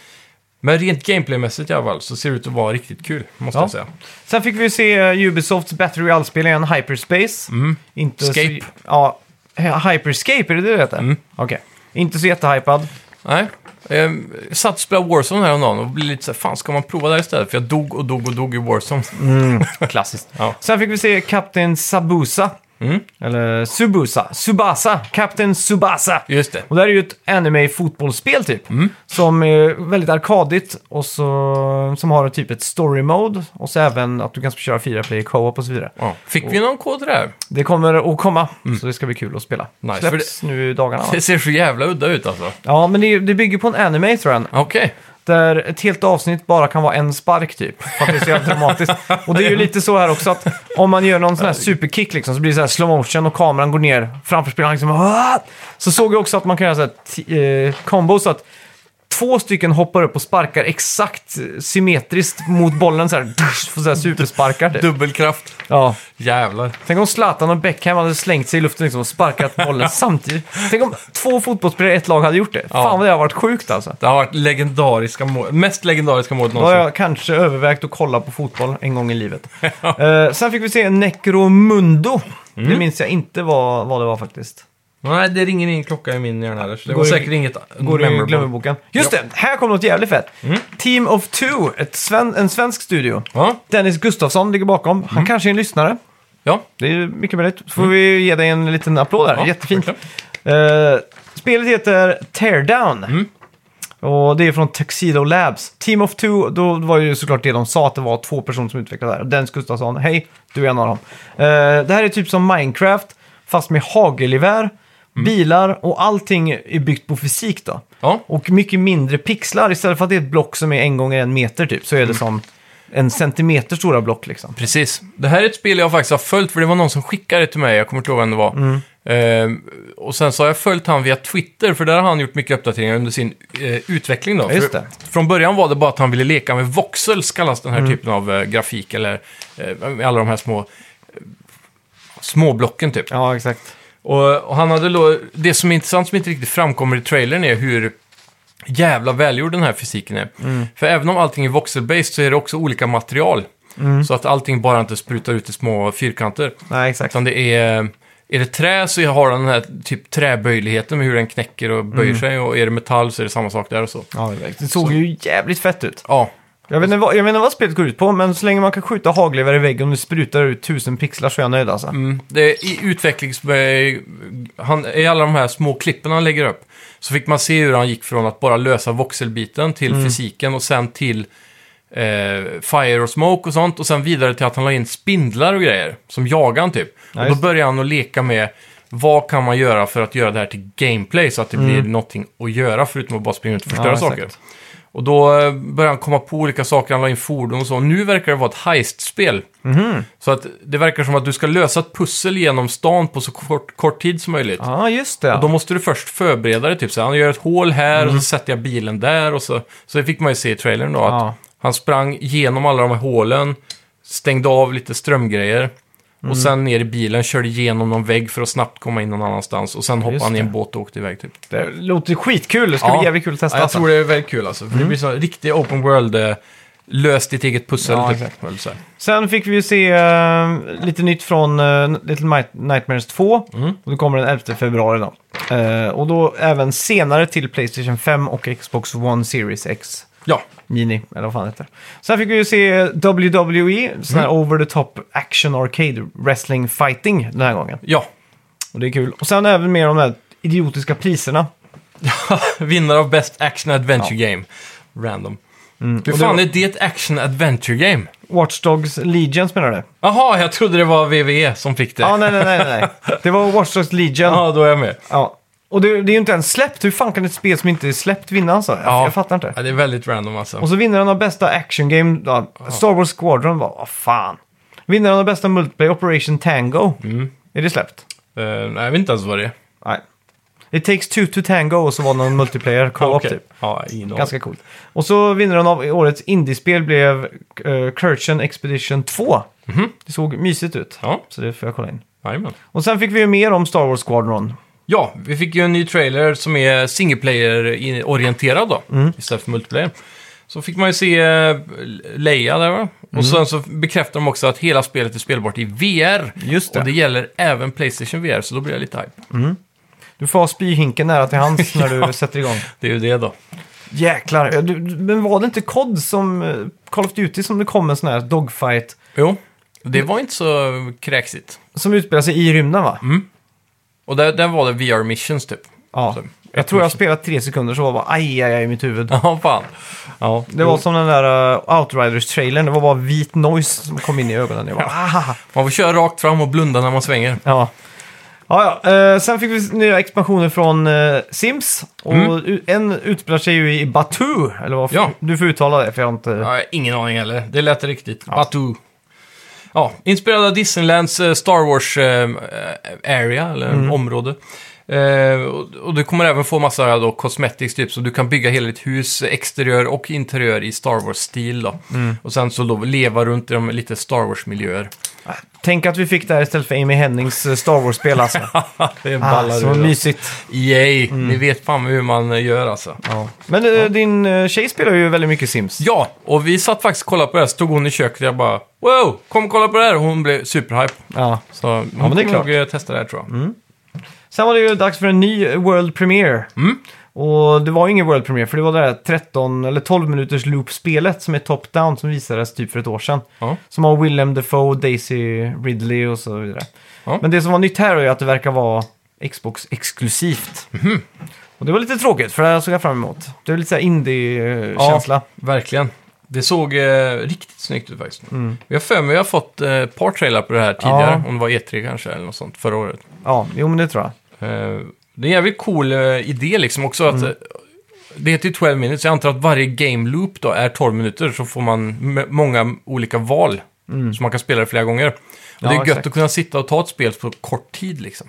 Speaker 2: Men rent gameplaymässigt i alla fall så ser det ut att vara riktigt kul, måste
Speaker 1: Ja.
Speaker 2: jag säga.
Speaker 1: Sen fick vi se eh, Ubisofts Battle Royale-spel igen, Hyperspace.
Speaker 2: Mm.
Speaker 1: Inte
Speaker 2: Scape.
Speaker 1: Så, ja, he- Hyperscape, är det det det heter?
Speaker 2: Mm.
Speaker 1: Okej. Inte
Speaker 2: *laughs*
Speaker 1: så jättehypad.
Speaker 2: Nej. Eh, Jag satt och spelade Warzone häromdagen och blev lite så här, fan ska man prova där istället? För jag dog och dog och dog i Warzone.
Speaker 1: Mm. Klassiskt.
Speaker 2: Ja. Mm.
Speaker 1: Sen fick vi se Captain Sabusa. Eller Subusa. Subasa. Captain Subasa.
Speaker 2: Just det.
Speaker 1: Och det här är ju ett anime-fotbollsspel typ.
Speaker 2: Mm.
Speaker 1: Som är väldigt arkadigt och så, som har typ ett story mode. Och så även att du kan köra fyra player co-op och så vidare.
Speaker 2: Ja. Fick vi någon kod till det här?
Speaker 1: Det kommer att komma, så det ska bli kul att spela.
Speaker 2: Nice, för
Speaker 1: Släpps nu
Speaker 2: *laughs*
Speaker 1: i dagarna va?
Speaker 2: Det ser så jävla udda ut alltså.
Speaker 1: Ja, men det, är- det bygger på en anime tror jag.
Speaker 2: Okej.
Speaker 1: Där ett helt avsnitt bara kan vara en spark typ. För att det är så jävla dramatiskt. Och det är ju lite så här också att om man gör någon sån här superkick liksom så blir det så här slow motion och kameran går ner framför spelaren liksom. "Aah!" Så såg jag också att man kan göra så här t- eh, combo så att två stycken hoppar upp och sparkar exakt eh, symmetriskt mot bollen så här. dusch, Får så här supersparkar typ.
Speaker 2: Dubbelkraft.
Speaker 1: Ja.
Speaker 2: Jävlar.
Speaker 1: Tänk om Zlatan och Beckham hade slängt sig i luften liksom och sparkat bollen samtidigt. Tänk om två fotbollsspelare i ett lag hade gjort det. Fan vad det har varit sjukt alltså.
Speaker 2: Det har varit legendariska mål. Mest legendariska målet
Speaker 1: Då har
Speaker 2: någonsin.
Speaker 1: jag kanske övervägt att kolla på fotboll en gång i *laughs* livet. Mm. Eh, sen fick vi se Necromundo. Det minns jag inte vad, vad det var faktiskt.
Speaker 2: Nej, det ringer ingen klocka i min hjärna heller. så Det
Speaker 1: Går
Speaker 2: var
Speaker 1: i-
Speaker 2: säkert inget
Speaker 1: Går i
Speaker 2: memorable.
Speaker 1: glömmerboken. Mm. Just det, här kommer något jävligt fett. Team of Two, ett sven en svensk studio.
Speaker 2: Ja,
Speaker 1: Dennis Gustafsson ligger bakom. Han kanske är en lyssnare.
Speaker 2: ja.
Speaker 1: Det är mycket möjligt. Får vi ge dig en liten applåd där.
Speaker 2: Ja,
Speaker 1: Jättefint. Eh, spelet heter Teardown. Och det är från Tuxedo Labs. Team of Two, då var ju såklart det de sa att det var två personer som utvecklade det här. Dennis Gustafsson, hej, du är en av dem. Eh, det här är typ som Minecraft, fast med hagelgevär, Mm. bilar och allting är byggt på fysik då.
Speaker 2: ja.
Speaker 1: Och mycket mindre pixlar. Istället för att det är ett block som är en gånger en meter typ, så är det som en centimeter stora block liksom.
Speaker 2: Precis. Det här är ett spel jag faktiskt har följt, för det var någon som skickade det till mig, jag kommer inte ihåg vem det var.
Speaker 1: Mm.
Speaker 2: Ehm, och sen så har jag följt han via Twitter, för där har han gjort mycket uppdateringar under sin eh, utveckling. Då.
Speaker 1: Ja, just
Speaker 2: För-
Speaker 1: det. Mm.
Speaker 2: Från början var det bara att han ville leka med voxels, kallas den här typen av eh, grafik, eller eh, med alla de här små eh, småblocken typ.
Speaker 1: Ja, exakt.
Speaker 2: Och, och han hade då, det som är intressant som inte riktigt framkommer i trailern är hur jävla välgjord den här fysiken är. För även om allting är voxel-based så är det också olika material. Så att allting bara inte sprutar ut i små fyrkanter.
Speaker 1: Nej, exakt.
Speaker 2: Utan det är, är det trä så har den här typ träböjligheten med hur den knäcker och böjer sig. Och är det metall så är det samma sak där och så.
Speaker 1: Ja, det såg ju jävligt fett ut.
Speaker 2: Ja,
Speaker 1: Jag vet, inte vad, jag vet inte vad spelet går ut på, men så länge man kan skjuta hagelgevär i väggen och det sprutar ut tusen pixlar så är jag nöjd alltså.
Speaker 2: Mm. Det är i utvecklings... Han, I alla de här små klippen han lägger upp så fick man se hur han gick från att bara lösa voxelbiten till
Speaker 1: Mm.
Speaker 2: fysiken och sen till eh, fire och smoke och sånt och sen vidare till att han la in spindlar och grejer som jagar han typ. och då
Speaker 1: just det.
Speaker 2: började han att leka med vad kan man göra för att göra det här till gameplay så att det blir någonting att göra förutom att bara springa runt och förstöra
Speaker 1: Mm. Ja, exakt.
Speaker 2: saker. Och då eh, började han komma på olika saker, han la in fordon och så. Nu verkar det vara ett heist-spel.
Speaker 1: Mhm.
Speaker 2: Så att det verkar som att du ska lösa ett pussel genom stan på så kort, kort tid som möjligt.
Speaker 1: Ja, just det.
Speaker 2: Och då måste du först förbereda det, typ så här, han gör ett hål här
Speaker 1: Mhm.
Speaker 2: och så sätter jag bilen där och så. Så det fick man ju se i trailern då, att
Speaker 1: Ja.
Speaker 2: han sprang genom alla de här hålen, stängde av lite strömgrejer.
Speaker 1: Mm.
Speaker 2: Och sen ner i bilen, körde igenom någon vägg för att snabbt komma in någon annanstans. Och sen hoppade han i en
Speaker 1: det.
Speaker 2: båt och åkte iväg typ.
Speaker 1: Det låter skitkul, det ska bli jävligt kul att testa.
Speaker 2: Ja, jag
Speaker 1: alltså.
Speaker 2: tror det är väldigt kul alltså. För
Speaker 1: Mm.
Speaker 2: det blir så här riktig open world, eh, löst ditt eget pussel.
Speaker 1: Ja,
Speaker 2: typ.
Speaker 1: exakt.
Speaker 2: Eller så här.
Speaker 1: Sen fick vi ju se eh, lite nytt från eh, Little Might- Nightmares 2. Och det kommer den 11 februari då. Eh, och då även senare till Playstation 5 och Xbox One Series X.
Speaker 2: ja.
Speaker 1: Mini, eller vad fan heter. Sen fick vi ju se WWE, sån här over the top action arcade wrestling fighting den här gången.
Speaker 2: ja. *laughs*
Speaker 1: Och det är kul. Och sen även mer om de här idiotiska priserna.
Speaker 2: Vinnare av Best Action Adventure Game. Random. Hur
Speaker 1: Mm. och det
Speaker 2: fan
Speaker 1: var-
Speaker 2: är det ett Action Adventure Game?
Speaker 1: Watch Dogs Legion spelar du?
Speaker 2: Jaha, jag trodde det var VVE som fick det.
Speaker 1: Ja,
Speaker 2: Ja,
Speaker 1: nej, nej, nej, nej. Det var Watch Dogs Legion. Ja.
Speaker 2: då är jag med.
Speaker 1: Och det, det är ju inte ens släppt. Hur fan kan ett spel som inte är släppt vinna alltså? Jag,
Speaker 2: Ja.
Speaker 1: jag fattar inte.
Speaker 2: Ja, det är väldigt random alltså.
Speaker 1: Och så vinnaren av bästa action game, ja, Star Wars Squadron, var, vad fan. Vinnaren av bästa multiplayer, Operation Tango. Är det släppt?
Speaker 2: Eh, nej, jag vet inte ens vad det är.
Speaker 1: Nej. It takes two to tango och så var det någon multiplayer
Speaker 2: *laughs*
Speaker 1: co-op
Speaker 2: Okej.
Speaker 1: typ.
Speaker 2: Ja, ingen aning.
Speaker 1: Ganska coolt. Och så vinnaren av årets indiespel blev uh, Kirchen Expedition 2. Det såg mysigt ut.
Speaker 2: Mhm. Ja.
Speaker 1: Så det får jag kolla in.
Speaker 2: Jajamän.
Speaker 1: Och sen fick vi ju mer om Star Wars Squadron.
Speaker 2: Ja, vi fick ju en ny trailer som är singleplayer-orienterad då, istället för multiplayer. Så fick man ju se eh, Leia där va? Och sen så bekräftar de också att hela spelet är spelbart i VR.
Speaker 1: Just det.
Speaker 2: Och det gäller även Playstation VR, så då blir jag lite hype.
Speaker 1: Du får ha spyhinken nära till
Speaker 2: *laughs*
Speaker 1: hands när du sätter igång.
Speaker 2: Det är ju det då.
Speaker 1: Jäklar. Ja, Du, du- men var det inte COD som... eh, Call of Duty som det kom en sån här dogfight
Speaker 2: Jo, det var inte så kräksigt.
Speaker 1: som utspelar sig i rymden va?
Speaker 2: Mm. Och där, där var det VR missions typ.
Speaker 1: Ja.
Speaker 2: Så,
Speaker 1: Jag tror jag spelat tre sekunder så var det bara aj, aj, aj i mitt huvud.
Speaker 2: Ja, fan. Ja,
Speaker 1: Det var som den där eh, Outriders-trailern, det var bara vit noise som kom in i ögonen. Jag bara, ah.
Speaker 2: Man får köra rakt fram och blunda när man svänger.
Speaker 1: Ja. Ja, ja. Eh, sen fick vi nya expansioner från eh, Sims. Och u- en utspelar sig ju i Batu. Eller vad
Speaker 2: Mm. Ja.
Speaker 1: Du får uttala det, för jag har inte...
Speaker 2: Ja, ingen aning heller. Det lät riktigt. Batu. Ja, inspirerad av Disneylands eh, Star Wars eh, area, eller område. Eh, och- och du kommer även få massa då, cosmetics, typ, så du kan bygga hela ditt hus, exteriör och interiör i Star Wars-stil. Då. Och sen så då leva runt i de lite Star Wars-miljöer.
Speaker 1: Tänk att vi fick det här istället för Amy Hennings eh, Star
Speaker 2: *laughs*
Speaker 1: Wars-spel alltså.
Speaker 2: det
Speaker 1: ah, så
Speaker 2: ur.
Speaker 1: mysigt.
Speaker 2: Yay! Ni vet fan hur man gör alltså.
Speaker 1: Ja. Men eh, din eh, tjej spelar ju väldigt mycket Sims.
Speaker 2: Ja, och vi satt faktiskt och kollade på det här, stod hon i köket och jag bara Wow, kom och kolla på det här! Och hon blev superhype.
Speaker 1: Ja.
Speaker 2: Så hon
Speaker 1: men det är Mm.
Speaker 2: kommer nog eh, testa det här tror jag.
Speaker 1: Sen var det ju dags för en ny World Premiere.
Speaker 2: Mm.
Speaker 1: Och det var ju ingen World Premiere för det var det här 13 eller 12 minuters loop-spelet som är top-down som visades typ för ett år sedan.
Speaker 2: Ja.
Speaker 1: Som har Willem Dafoe, Daisy Ridley och så vidare.
Speaker 2: Ja.
Speaker 1: Men det som var nytt här är att det verkar vara Xbox-exklusivt.
Speaker 2: Mhm.
Speaker 1: Och det var lite tråkigt för det här såg jag fram emot. Det var lite så här indie-känsla.
Speaker 2: Verkligen. Det såg eh, riktigt snyggt ut faktiskt. Jag har för mig jag har fått eh, ett par trailar på det här tidigare.
Speaker 1: Mm. Ja.
Speaker 2: Om det var E3 kanske eller något sånt förra året.
Speaker 1: Ja. jo men det tror jag.
Speaker 2: Eh, det är en jävligt cool eh, idé liksom också.
Speaker 1: Mm.
Speaker 2: Att, eh, Det heter ju 12 minutes. Jag antar att varje game loop då är 12 minuter. Så får man m- många olika val. Så man kan spela det flera gånger. Och det är gött
Speaker 1: Mm. exakt. Mm.
Speaker 2: att kunna sitta och ta ett spel på kort tid liksom.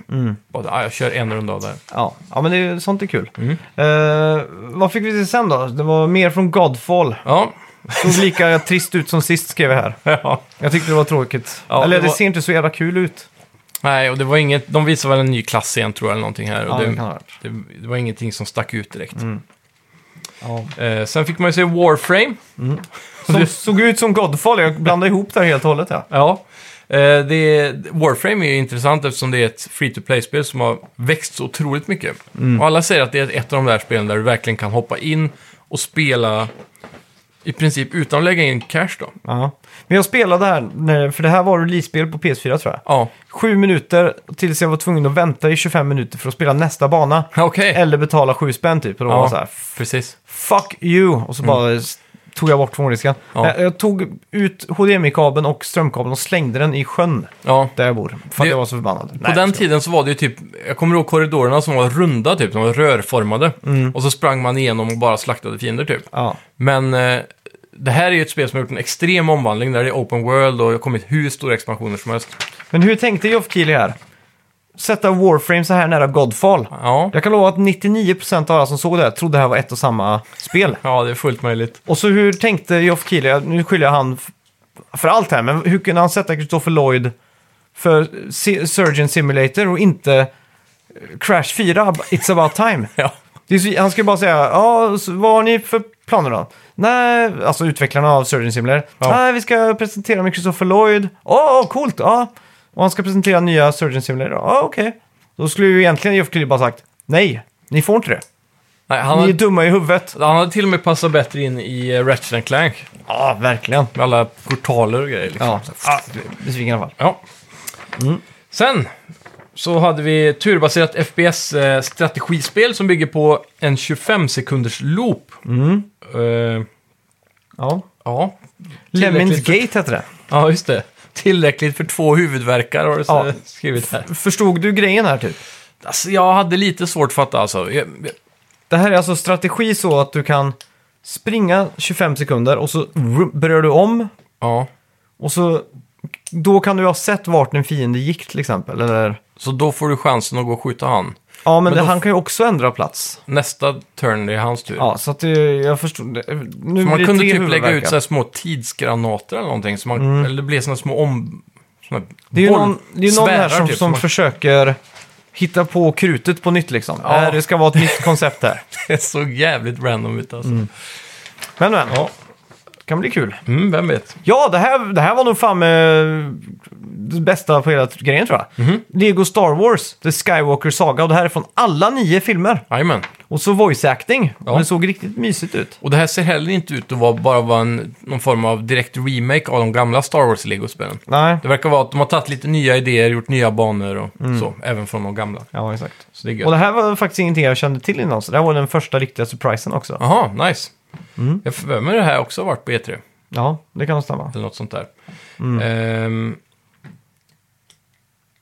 Speaker 2: Bara, ah, jag kör en runda av det här.
Speaker 1: Ja, ja men det, är- sånt är kul. Eh, vad fick vi se sen då? Det var mer från Godfall. *laughs*
Speaker 2: Ja.
Speaker 1: Såg lika *laughs* trist ut som sist skrev jag här.
Speaker 2: ja.
Speaker 1: Jag tyckte det var tråkigt.
Speaker 2: Ja,
Speaker 1: Eller
Speaker 2: det
Speaker 1: det,
Speaker 2: var-
Speaker 1: ser inte så jävla kul ut.
Speaker 2: Nej, och det var inget... De visar väl en ny klass igen tror jag eller någonting här.
Speaker 1: Ja,
Speaker 2: och
Speaker 1: det kan Mm. ha varit.
Speaker 2: det, det var ingenting som stack ut direkt.
Speaker 1: Ja.
Speaker 2: Eh, sen fick man ju se Warframe.
Speaker 1: Som såg ut som Godfall, jag blandade ihop det här helt och hållet. Ja.
Speaker 2: Ja. Eh, det, Warframe är ju intressant eftersom det är ett free-to-play-spel som har växt så otroligt mycket.
Speaker 1: Mm.
Speaker 2: Och alla säger att det är ett av de där spelen där du verkligen kan hoppa in och spela i princip utan att lägga in cash då.
Speaker 1: Ja. Men jag spelade här, när- för det här var release-spel på PS4 tror jag.
Speaker 2: Ja,
Speaker 1: Sju minuter tills jag var tvungen att vänta i 25 minuter för att spela nästa bana.
Speaker 2: okej.
Speaker 1: Eller betala sju spänn typ. Och då
Speaker 2: Ja.
Speaker 1: var jag så här,
Speaker 2: Precis.
Speaker 1: fuck you! Och så bara s- tog jag bort från hårddisken.
Speaker 2: Ja.
Speaker 1: Jag, jag tog ut HDMI-kabeln och strömkabeln och slängde den i sjön
Speaker 2: Ja.
Speaker 1: där jag bor. För att
Speaker 2: Det-
Speaker 1: jag var så förbannad.
Speaker 2: På den tiden så var det ju typ, jag kommer ihåg korridorerna som var runda typ, de var rörformade. Och så sprang man igenom och bara slaktade fiender typ.
Speaker 1: Mm. Ja.
Speaker 2: Men eh, det här är ju ett spel som har gjort en extrem omvandling där det är open world och det har kommit hur stora expansioner som helst.
Speaker 1: Men hur tänkte Geoff Keighley här? Sätta Warframe så här nära Godfall.
Speaker 2: Ja,
Speaker 1: Jag kan lova att 99% av alla som såg det här trodde det här var ett och samma spel.
Speaker 2: ja det är fullt möjligt. *laughs*
Speaker 1: Och så hur tänkte Geoff Keighley, nu skyller jag han f- för allt här, men hur kunde han sätta Christopher Lloyd för Si- Surgeon Simulator och inte eh, Crash 4, It's about time?
Speaker 2: Ja.
Speaker 1: Det är så, han ska ju bara säga, ja, så vad har ni för planer då? Nej, alltså utvecklarna av Surgeon Simulator.
Speaker 2: Ja.
Speaker 1: Nej, vi ska presentera med Christopher Lloyd. Åh, coolt! Ja. Och han ska presentera nya Surgeon Simulator. Ja, okej. Då skulle ju egentligen Jeff Kelly bara sagt, nej, ni får inte det.
Speaker 2: Nej, han,
Speaker 1: Ni är
Speaker 2: hade,
Speaker 1: dumma i huvudet.
Speaker 2: han hade till och med passat bättre in i eh, Ratchet and Clank.
Speaker 1: Ja, verkligen.
Speaker 2: Med alla portaler och grejer. Liksom.
Speaker 1: Ja,
Speaker 2: Så-
Speaker 1: ah, besviken i alla fall.
Speaker 2: ja. Sen så hade vi turbaserat FPS-strategispel eh, som bygger på en 25 sekunders loop. Eh,
Speaker 1: Ja.
Speaker 2: ja.
Speaker 1: Lemmins
Speaker 2: Tillräckligt för-
Speaker 1: Gate hette det.
Speaker 2: ja, just det. Tillräckligt för två huvudverkar har du
Speaker 1: Ja.
Speaker 2: s- skrivit här.
Speaker 1: Förstod du grejen här typ?
Speaker 2: Alltså, jag hade lite svårt att fatta alltså. Jag, jag,
Speaker 1: Det här är alltså strategi så att du kan springa 25 sekunder och så vroom, berör du om
Speaker 2: ja.
Speaker 1: Och så, då kan du ha sett vart en fiende gick till exempel. Eller,
Speaker 2: Så då får du chansen att gå och skjuta han.
Speaker 1: ja, men,
Speaker 2: Men
Speaker 1: det,
Speaker 2: då-
Speaker 1: han kan ju också ändra plats.
Speaker 2: Nästa turn, det är hans tur.
Speaker 1: Ja, så att det, jag förstod. det. Nu
Speaker 2: Så man
Speaker 1: blir det
Speaker 2: kunde
Speaker 1: tre
Speaker 2: typ lägga ut
Speaker 1: huvudvärkar.
Speaker 2: så här små tidsgranater eller någonting. Så man, Eller det blev såna små om... Såna
Speaker 1: Det är ju
Speaker 2: boll-
Speaker 1: någon, det är ju någon här
Speaker 2: svärdar
Speaker 1: som,
Speaker 2: typ,
Speaker 1: som
Speaker 2: man-
Speaker 1: försöker hitta på krutet på nytt liksom.
Speaker 2: Ja.
Speaker 1: Ja. Det ska vara ett nytt koncept här.
Speaker 2: *laughs* Det såg jävligt random ut alltså.
Speaker 1: Men men,
Speaker 2: Ja,
Speaker 1: kan bli kul.
Speaker 2: mm, vem vet.
Speaker 1: Ja, det här, det här var nog fan eh, det bästa på hela grejen tror jag.
Speaker 2: Mhm.
Speaker 1: Lego Star Wars, The Skywalker Saga och det här är från alla nio filmer.
Speaker 2: Jajamän.
Speaker 1: Och så voice acting.
Speaker 2: Ja.
Speaker 1: Det såg riktigt mysigt ut.
Speaker 2: Och det här ser heller inte ut att vara bara vara en, någon form av direkt remake av de gamla Star Wars-legospelen.
Speaker 1: Nej.
Speaker 2: Det verkar vara att de har tagit lite nya idéer, gjort nya banor och så, även från de gamla.
Speaker 1: Ja, exakt.
Speaker 2: Så det är
Speaker 1: Och
Speaker 2: gött.
Speaker 1: det här var faktiskt ingenting jag kände till innan, så det här var den första riktiga surprisen också.
Speaker 2: Jaha, nice. Jag för mig det här också har varit på E E3.
Speaker 1: Ja, det kan nog stämma.
Speaker 2: Eller något sånt där. Ehm.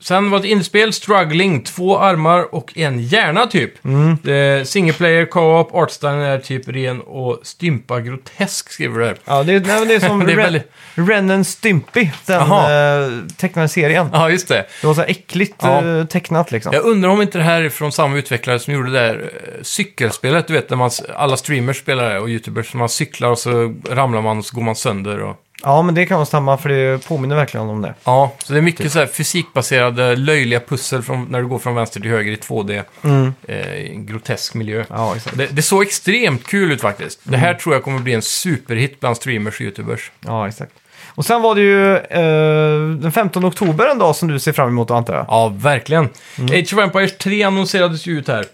Speaker 2: sen var det ett inspel, Struggling, två armar och en hjärna typ. Mm. single player, co-op, artstylen är typ ren och stympa grotesk skriver du här.
Speaker 1: Ja, det, nej, men det är som
Speaker 2: *laughs* Det är
Speaker 1: Ren-
Speaker 2: väldigt-
Speaker 1: Ren and Stimpy, den
Speaker 2: Jaha.
Speaker 1: eh, tecknade serien.
Speaker 2: Ja, just det.
Speaker 1: Det var så här äckligt
Speaker 2: Ja.
Speaker 1: eh, tecknat liksom.
Speaker 2: Jag undrar om inte det här är från samma utvecklare som gjorde det där eh, cykelspelet, du vet, när man, s- alla streamers spelar det och youtubers, man cyklar och så ramlar man och så går man sönder och...
Speaker 1: Ja, men det kan nog stämma, för det påminner verkligen om det.
Speaker 2: Ja, så det är
Speaker 1: Typ.
Speaker 2: mycket så här fysikbaserade löjliga pussel från, när du går från vänster till höger i 2D.
Speaker 1: Mm.
Speaker 2: Eh, i en grotesk miljö.
Speaker 1: Ja, exakt.
Speaker 2: Det, det såg
Speaker 1: Mm.
Speaker 2: extremt kul ut faktiskt. Det här tror jag kommer bli en superhit bland streamers och youtubers.
Speaker 1: Ja, exakt. Och sen var det ju eh, den 15 oktober en dag som du ser fram emot antar jag.
Speaker 2: Ja, verkligen.
Speaker 1: Mm.
Speaker 2: Age of Empires 3 annonserades ju ut här.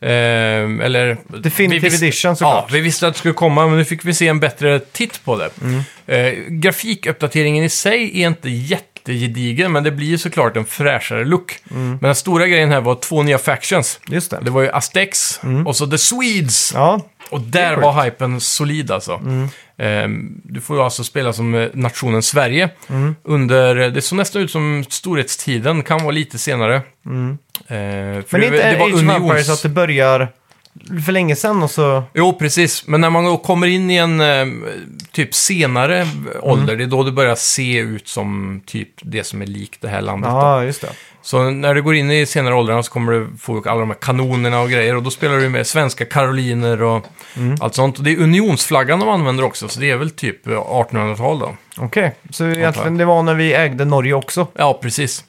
Speaker 2: Ehm, eller...
Speaker 1: Definitive
Speaker 2: vi visste-
Speaker 1: Edition
Speaker 2: Ja,
Speaker 1: såklart.
Speaker 2: vi visste att det skulle komma, men nu fick vi se en bättre titt på det.
Speaker 1: Mm.
Speaker 2: Eh, grafikuppdateringen i sig är inte jättegedigen, men det blir ju såklart en fräschare look.
Speaker 1: Mm.
Speaker 2: Men den stora grejen här var två nya factions.
Speaker 1: Just det.
Speaker 2: Det var ju Aztecs och så The Swedes.
Speaker 1: Mm. Ja,
Speaker 2: Och där var hypen solid alltså.
Speaker 1: Mm.
Speaker 2: Ehm, du får ju alltså spela som eh, nationen Sverige.
Speaker 1: Mm.
Speaker 2: Under, eh, det såg nästan ut som storhetstiden, kan vara lite senare. Ehm, för
Speaker 1: Mm. men det är inte
Speaker 2: det var
Speaker 1: Age of Empires
Speaker 2: unions-
Speaker 1: att det börjar för länge sedan och så...
Speaker 2: Jo, precis. Men när man då kommer in i en eh, typ senare
Speaker 1: Mm.
Speaker 2: ålder, det är då det börjar se ut som typ det som är likt det här landet. då.
Speaker 1: Ja, just det.
Speaker 2: Så när du går in i senare åldrarna så kommer du få alla de här kanonerna och grejer. Och då spelar du med svenska karoliner och
Speaker 1: Mm.
Speaker 2: allt sånt. Och det är unionsflaggan de använder också, så det är väl typ eh, 1800-tal då.
Speaker 1: Okej, så
Speaker 2: Antar
Speaker 1: egentligen
Speaker 2: jag.
Speaker 1: det var när vi ägde Norge också.
Speaker 2: Ja, precis.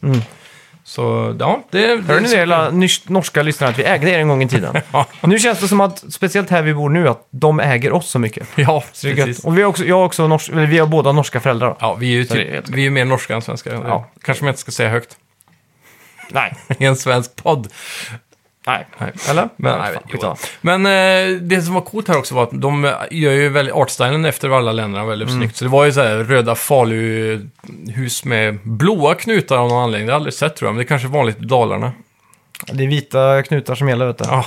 Speaker 2: Så ja, det...
Speaker 1: Mm. Hör ni det, alla nys- norska lyssnare, att vi ägde er en gång
Speaker 2: *laughs*
Speaker 1: i tiden?
Speaker 2: Ja.
Speaker 1: Nu känns det som att, speciellt här vi bor nu, att de äger oss så mycket.
Speaker 2: Ja,
Speaker 1: Så det är gött.
Speaker 2: precis.
Speaker 1: Och vi har också, jag har också norsk, eller vi har båda norska föräldrar.
Speaker 2: *laughs*
Speaker 1: då.
Speaker 2: Ja, vi är ju
Speaker 1: det är helt
Speaker 2: typ, vi är ju mer norska än svenska.
Speaker 1: Ja.
Speaker 2: Kanske man inte ska säga högt *laughs*
Speaker 1: Nej.
Speaker 2: i en svensk podd.
Speaker 1: Nej.
Speaker 2: Nej.
Speaker 1: Eller?
Speaker 2: Men,
Speaker 1: Nej,
Speaker 2: nej,
Speaker 1: fan,
Speaker 2: jo.
Speaker 1: skitsamma.
Speaker 2: men eh, det som var coolt här också var att de eh, gör ju väldigt, artstylen efter alla länderna väldigt
Speaker 1: Mm.
Speaker 2: snyggt. Så det var ju så här röda faluhus med blåa knutar av någon anledning. Det har jag aldrig sett tror jag, men det är kanske är vanligt i Dalarna.
Speaker 1: Det är vita knutar som gäller, vet du.
Speaker 2: Ja,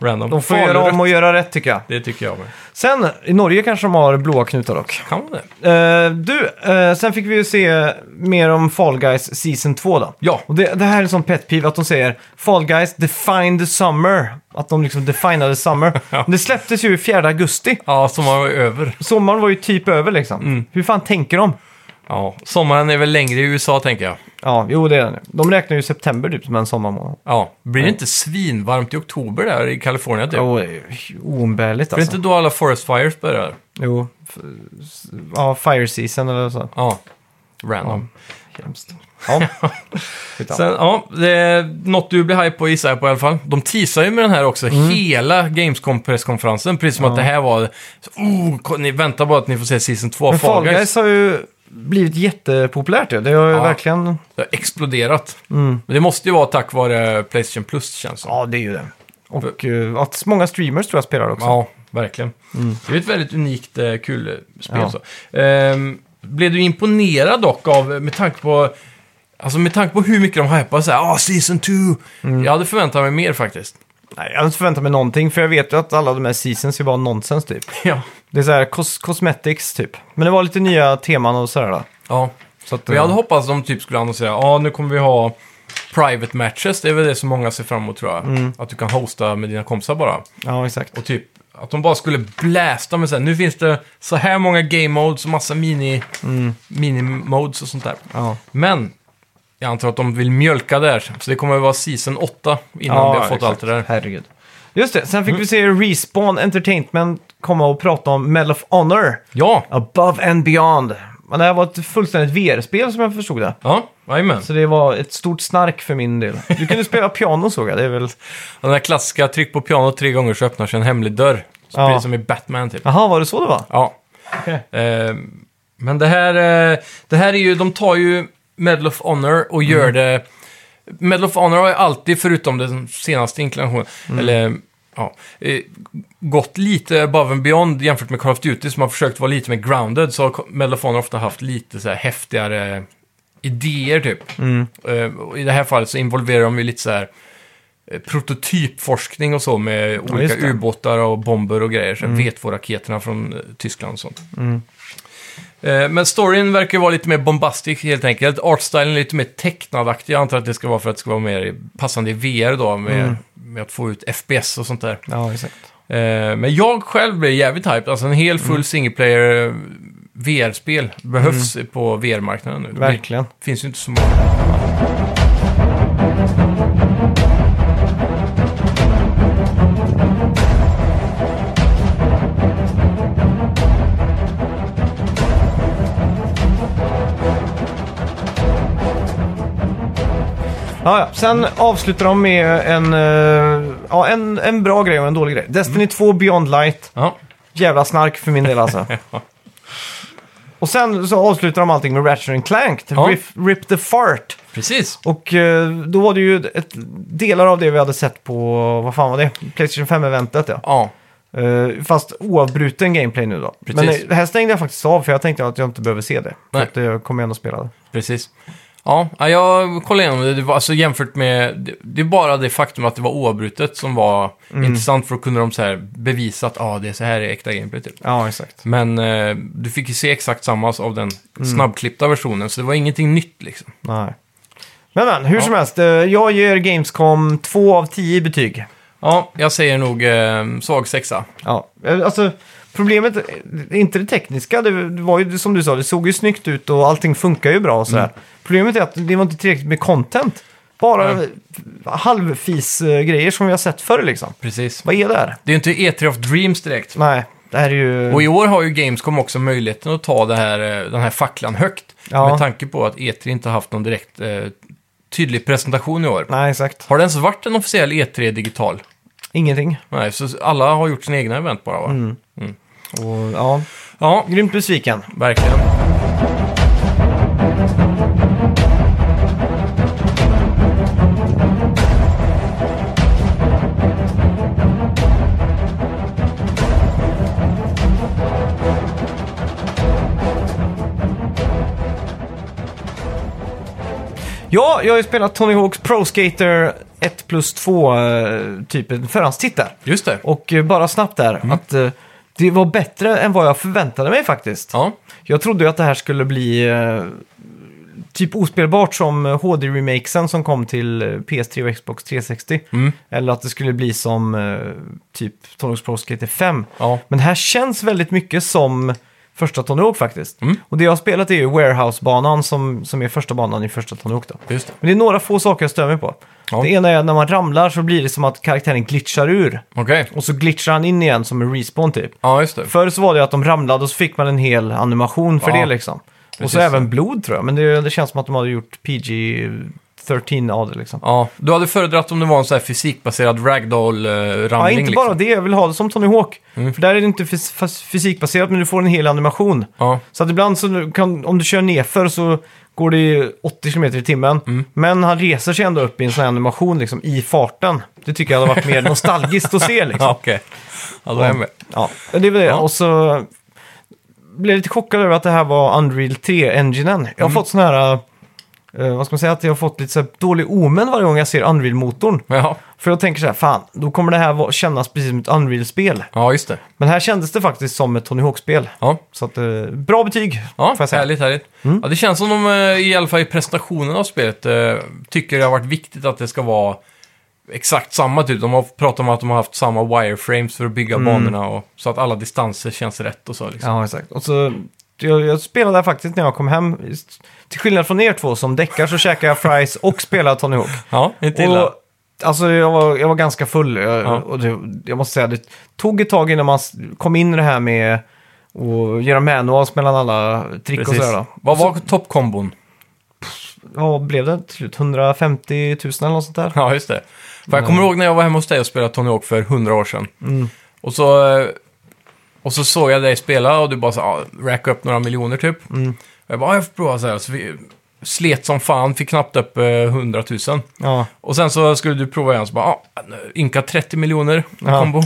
Speaker 2: random.
Speaker 1: De får
Speaker 2: Falurött.
Speaker 1: göra om och göra rätt tycker jag.
Speaker 2: Det tycker jag med.
Speaker 1: Sen, i Norge kanske de har blåa knutar dock.
Speaker 2: Kan man det?
Speaker 1: Eh, du, eh, sen fick vi ju se mer om Fall Guys Season 2 då.
Speaker 2: Ja.
Speaker 1: Och det, det här är en sån pet peeve att de säger Fall Guys Define the Summer. Att de liksom
Speaker 2: *laughs*
Speaker 1: definade Summer. Men Det släpptes ju 4 augusti.
Speaker 2: Ja, sommaren var över.
Speaker 1: Sommaren var ju typ över liksom.
Speaker 2: Mm.
Speaker 1: Hur fan tänker de?
Speaker 2: Ja, sommaren är väl längre i USA tänker jag.
Speaker 1: Ja, jo det är det. De räknar ju september typ som en sommarmånad.
Speaker 2: Ja, blir det inte svinvarmt i oktober där i Kalifornien typ?
Speaker 1: Jo, det är ju oumbärligt
Speaker 2: Är det
Speaker 1: alltså.
Speaker 2: inte då alla forest fires börjar?
Speaker 1: Jo. f- s- Ja, Fire Season eller så.
Speaker 2: Ja, random.
Speaker 1: Hemskt.
Speaker 2: *laughs*
Speaker 1: Ja. Skitsamma.
Speaker 2: Sen, ja, det är något du blir hype på gissar jag på i alla fall. De teasar ju med den här också, hela Gamescom-presskonferensen. Precis som att det här var... så, Oh, ko- ni väntar bara att ni får se Season 2 av
Speaker 1: Men
Speaker 2: Fall Guys.
Speaker 1: har ju blivit jättepopulärt. ju. Det har ju
Speaker 2: Ja.
Speaker 1: verkligen...
Speaker 2: Det har exploderat. Men det måste ju vara tack vare Playstation Plus, känns det som.
Speaker 1: Ja, det är ju det. Och eh, att många streamers tror jag spelar också.
Speaker 2: Ja, verkligen. Det är ett väldigt unikt eh, kul eh, spel.
Speaker 1: Ja.
Speaker 2: Så. Ehm, blev du imponerad dock av, eh, med tanke på, alltså med tanke på hur mycket de hypar så här, ah, Season 2! Jag hade förväntat mig mer faktiskt.
Speaker 1: Nej, jag hade inte förväntat mig någonting, för jag vet ju att alla de här seasons är bara nonsens typ.
Speaker 2: Ja.
Speaker 1: Det är så här kos- cosmetics typ. Men det var lite nya teman och sådär. då.
Speaker 2: ja.
Speaker 1: Så att,
Speaker 2: Men jag hade
Speaker 1: eh,
Speaker 2: hoppats att de typ skulle annonsera, ja ah, nu kommer vi ha private matches, det är väl det som många ser fram emot tror jag.
Speaker 1: Mm.
Speaker 2: Att du kan hosta med dina kompisar bara.
Speaker 1: eh, Ja, exakt.
Speaker 2: Och typ att de bara skulle blästa med så här, nu finns det så här många game modes och massa mini, mini modes och sånt där.
Speaker 1: Mm. Ja.
Speaker 2: Men jag antar att de vill mjölka där, så det kommer att vara season 8 innan vi har fått
Speaker 1: exakt.
Speaker 2: allt det där. Mm.
Speaker 1: Herregud. Just det, sen fick vi se Respawn Entertainment komma och prata om Medal of Honor.
Speaker 2: Ja,
Speaker 1: Above and beyond. Men det här var ett fullständigt VR-spel som jag förstod det.
Speaker 2: ja, jajamän.
Speaker 1: Så det var ett stort snark för min del. Du kunde spela piano såg jag, det är väl...
Speaker 2: Den där klassiska, tryck på pianot tre gånger så öppnar sig en hemlig dörr. Så
Speaker 1: Ja.
Speaker 2: Precis som i Batman typ.
Speaker 1: Jaha, var det så det *laughs* var?
Speaker 2: Ja. Eh, men det här, eh, det här är ju, de tar ju Medal of Honor och gör det... Medal of Honor har ju alltid, förutom den senaste inklinationen, eller ja, eh, gått lite above and beyond jämfört med Call of Duty som har försökt vara lite mer grounded. Så har Medal of Honor ofta haft lite så här häftigare idéer typ.
Speaker 1: Mm.
Speaker 2: Eh, och I det här fallet så involverar de ju lite så här eh, prototypforskning och så med olika
Speaker 1: just det. Mm.
Speaker 2: ubåtar och bomber och grejer. Så vet vår raketerna från eh, Tyskland och sånt. Eh, Men storyn verkar vara lite mer bombastisk helt enkelt. Artstylen är lite mer tecknadaktig. Jag antar att det ska vara för att det ska vara mer passande i VR då, med,
Speaker 1: Mm.
Speaker 2: med att få ut FPS och sånt där.
Speaker 1: Ja, exakt.
Speaker 2: Eh, Men jag själv blev jävligt hyped. Alltså en hel
Speaker 1: Mm.
Speaker 2: full singleplayer eh, VR-spel behövs på VR-marknaden nu. Det blir-
Speaker 1: Mm. Verkligen.
Speaker 2: finns ju inte så många.
Speaker 1: Ja, ja. Sen avslutar de med en, eh, ja, en, en bra grej och en dålig grej. Destiny 2 Beyond Light.
Speaker 2: Ja.
Speaker 1: *laughs* Jävla snark för min del alltså. Och sen så avslutar de allting med Ratchet and Clank,
Speaker 2: Ja.
Speaker 1: rip, rip the Fart.
Speaker 2: Precis.
Speaker 1: Och eh, då var det ju ett, delar av det vi hade sett på, vad fan var det? Playstation 5-eventet ja.
Speaker 2: Ja,
Speaker 1: Eh, fast oavbruten gameplay nu då.
Speaker 2: Precis.
Speaker 1: Men eh, det här stängde jag faktiskt av för jag tänkte att jag inte behöver se det. För
Speaker 2: Nej.
Speaker 1: att jag kommer ändå spela det.
Speaker 2: precis. Ja, ja, jag kollade igenom det. det var, alltså, jämfört med... Det, det är bara det faktum att det var oavbrutet som var intressant. För då kunde de så här bevisa att ah, det är så här är äkta gameplay. Typ.
Speaker 1: Ja, exakt.
Speaker 2: Men eh, du fick ju se exakt samma av den snabbklippta versionen. Så det var ingenting nytt liksom.
Speaker 1: Nej. Men men, hur som helst. eh, jag ger Gamescom 2 av 10 i betyg.
Speaker 2: Ja, jag säger nog eh, svag sexa.
Speaker 1: Ja, eh, alltså problemet är inte det tekniska. Det det var ju som du sa, det såg ju snyggt ut och allting funkar ju bra och sådär.
Speaker 2: Mm.
Speaker 1: Problemet är att det var inte tillräckligt med content. Bara
Speaker 2: Nej.
Speaker 1: halvfis-grejer som vi har sett förr liksom.
Speaker 2: Precis.
Speaker 1: Vad är det här?
Speaker 2: Det är ju inte E3 of Dreams direkt.
Speaker 1: Nej, det här är ju...
Speaker 2: Och i år har ju Gamescom också möjligheten att ta det här, eh, den här facklan högt.
Speaker 1: Ja.
Speaker 2: Med tanke på att E3 inte har haft någon direkt eh, tydlig presentation i år.
Speaker 1: Nej, exakt.
Speaker 2: Har det ens varit en officiell E3 digital?
Speaker 1: Ingenting.
Speaker 2: Nej, så alla har gjort sina egna event bara va?
Speaker 1: Mm. Och, ja.
Speaker 2: Ja,
Speaker 1: Grymt besviken.
Speaker 2: verkligen.
Speaker 1: Ja, jag har ju spelat Tony Hawks Pro Skater 1 plus 2, eh, typ en förhandstitel.
Speaker 2: Just det.
Speaker 1: Och eh, bara snabbt där, att eh, det var bättre än vad jag förväntade mig faktiskt.
Speaker 2: Ja,
Speaker 1: Jag trodde ju att det här skulle bli eh, typ ospelbart som HD-remakesen som kom till eh, PS3 och Xbox 360.
Speaker 2: Mm.
Speaker 1: Eller att det skulle bli som eh, typ Tony Hawk's Pro Skater 5.
Speaker 2: ja.
Speaker 1: Men det här känns väldigt mycket som första Tony Hawk faktiskt.
Speaker 2: Mm.
Speaker 1: Och det jag har spelat är ju Warehouse-banan som, som är första banan i första Tony Hawk då.
Speaker 2: just det.
Speaker 1: Men det är några få saker jag stör mig på.
Speaker 2: Ja.
Speaker 1: Det ena är att när man ramlar så blir det som att karaktären glitchar ur.
Speaker 2: Okej.
Speaker 1: Och så glitchar han in igen som en respawn typ.
Speaker 2: Ja, just det.
Speaker 1: Förr så var det att de ramlade och så fick man en hel animation för
Speaker 2: Ja,
Speaker 1: det liksom. Och
Speaker 2: precis.
Speaker 1: så även blod tror jag, men det, det känns som att de hade gjort PG-13 av det liksom.
Speaker 2: Ja, du hade föredragit om det var en så här fysikbaserad ragdoll-ramling.
Speaker 1: Ja, inte bara
Speaker 2: liksom. Mm.
Speaker 1: det, jag vill ha det som Tony Hawk. För där är det inte fys- fas- fysikbaserat, men du får en hel animation. *laughs*
Speaker 2: Ja,
Speaker 1: Så att ibland så du kan, om du kör nerför så går det ju 80 km i timmen.
Speaker 2: Mm.
Speaker 1: Men han reser sig ändå upp i en sån här animation liksom, i farten. Det tycker jag hade varit mer nostalgiskt
Speaker 2: *laughs*
Speaker 1: att se liksom.
Speaker 2: ja okej. Ja, då är jag med.
Speaker 1: Ja, det är väl det.
Speaker 2: Ja.
Speaker 1: Och så blev jag lite chockad över att det här var Unreal 3-enginen. Jag
Speaker 2: Mm.
Speaker 1: har fått sån här, eh, vad ska man säga, att jag har fått lite så här dålig omen varje gång jag ser Unreal-motorn.
Speaker 2: Ja,
Speaker 1: För jag tänker så här, fan, då kommer det här vara- kännas precis som ett Unreal-spel.
Speaker 2: ja just det.
Speaker 1: Men här kändes det faktiskt som ett Tony Hawk-spel.
Speaker 2: Ja,
Speaker 1: Så att, eh, bra betyg,
Speaker 2: ja
Speaker 1: får jag säga. Mm.
Speaker 2: härligt, härligt. Ja, det känns som de, eh, i alla fall i presentationen av spelet, eh, tycker det har varit viktigt att det ska vara exakt samma typ. De har pratat om att de har haft samma wireframes för att bygga
Speaker 1: Mm.
Speaker 2: banorna och så att alla distanser känns rätt och så. Liksom.
Speaker 1: Ja, exakt. Och så, jag, jag spelade här faktiskt när jag kom hem. Just- Till skillnad från er två som däckar så käkar jag fries och spelar
Speaker 2: *laughs*
Speaker 1: Tony Hawk.
Speaker 2: Ja, inte illa.
Speaker 1: Och, alltså jag var, jag var ganska full jag,
Speaker 2: Ja.
Speaker 1: och det, jag måste säga det tog ett tag innan man s- kom in i det här med att göra manuals mellan alla trick
Speaker 2: Precis.
Speaker 1: och sådär. då.
Speaker 2: Vad var toppkombon?
Speaker 1: Vad blev det till slut? 150 000 eller något sånt där?
Speaker 2: Ja, just det. För jag kommer ihåg när jag var hemma hos dig och spelade Tony Hawk för hundra år sedan.
Speaker 1: Mm.
Speaker 2: Och, så, eh, och så såg jag dig spela och du bara så ah, racka upp några miljoner typ.
Speaker 1: Mm.
Speaker 2: Och jag bara, ah, jag får prova så här. Så vi slet som fan, fick knappt upp eh, hundratusen.
Speaker 1: Ja.
Speaker 2: Och sen så skulle du prova igen, så bara, ah, ynka 30 miljoner i
Speaker 1: Ja.
Speaker 2: kombo.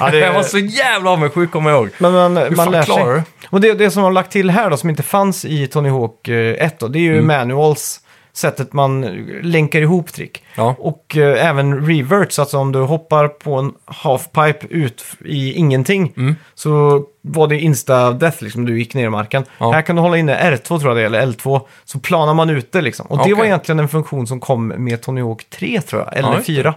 Speaker 1: Ja,
Speaker 2: *laughs*
Speaker 1: det-
Speaker 2: Jag var så jävla avundsjuk, kommer jag ihåg.
Speaker 1: Men man, man
Speaker 2: fan
Speaker 1: lär
Speaker 2: klarar
Speaker 1: sig.
Speaker 2: du?
Speaker 1: Och det, det som de har lagt till här då, som inte fanns i Tony Hawk eh, 1 då, det är
Speaker 2: Mm.
Speaker 1: ju manuals, sättet man eh, länkar ihop trick.
Speaker 2: Ja,
Speaker 1: Och eh, även reverts, alltså om du hoppar på en halfpipe ut f- i ingenting
Speaker 2: Mm.
Speaker 1: så var det insta-death liksom, du gick ner i marken.
Speaker 2: Ja.
Speaker 1: Här kan du hålla inne R2 tror jag det är, eller L2, så planar man ut det liksom. Och
Speaker 2: Okej.
Speaker 1: det var egentligen en funktion som kom med Tony Hawk 3 tror jag, eller
Speaker 2: Ja, just det.
Speaker 1: 4.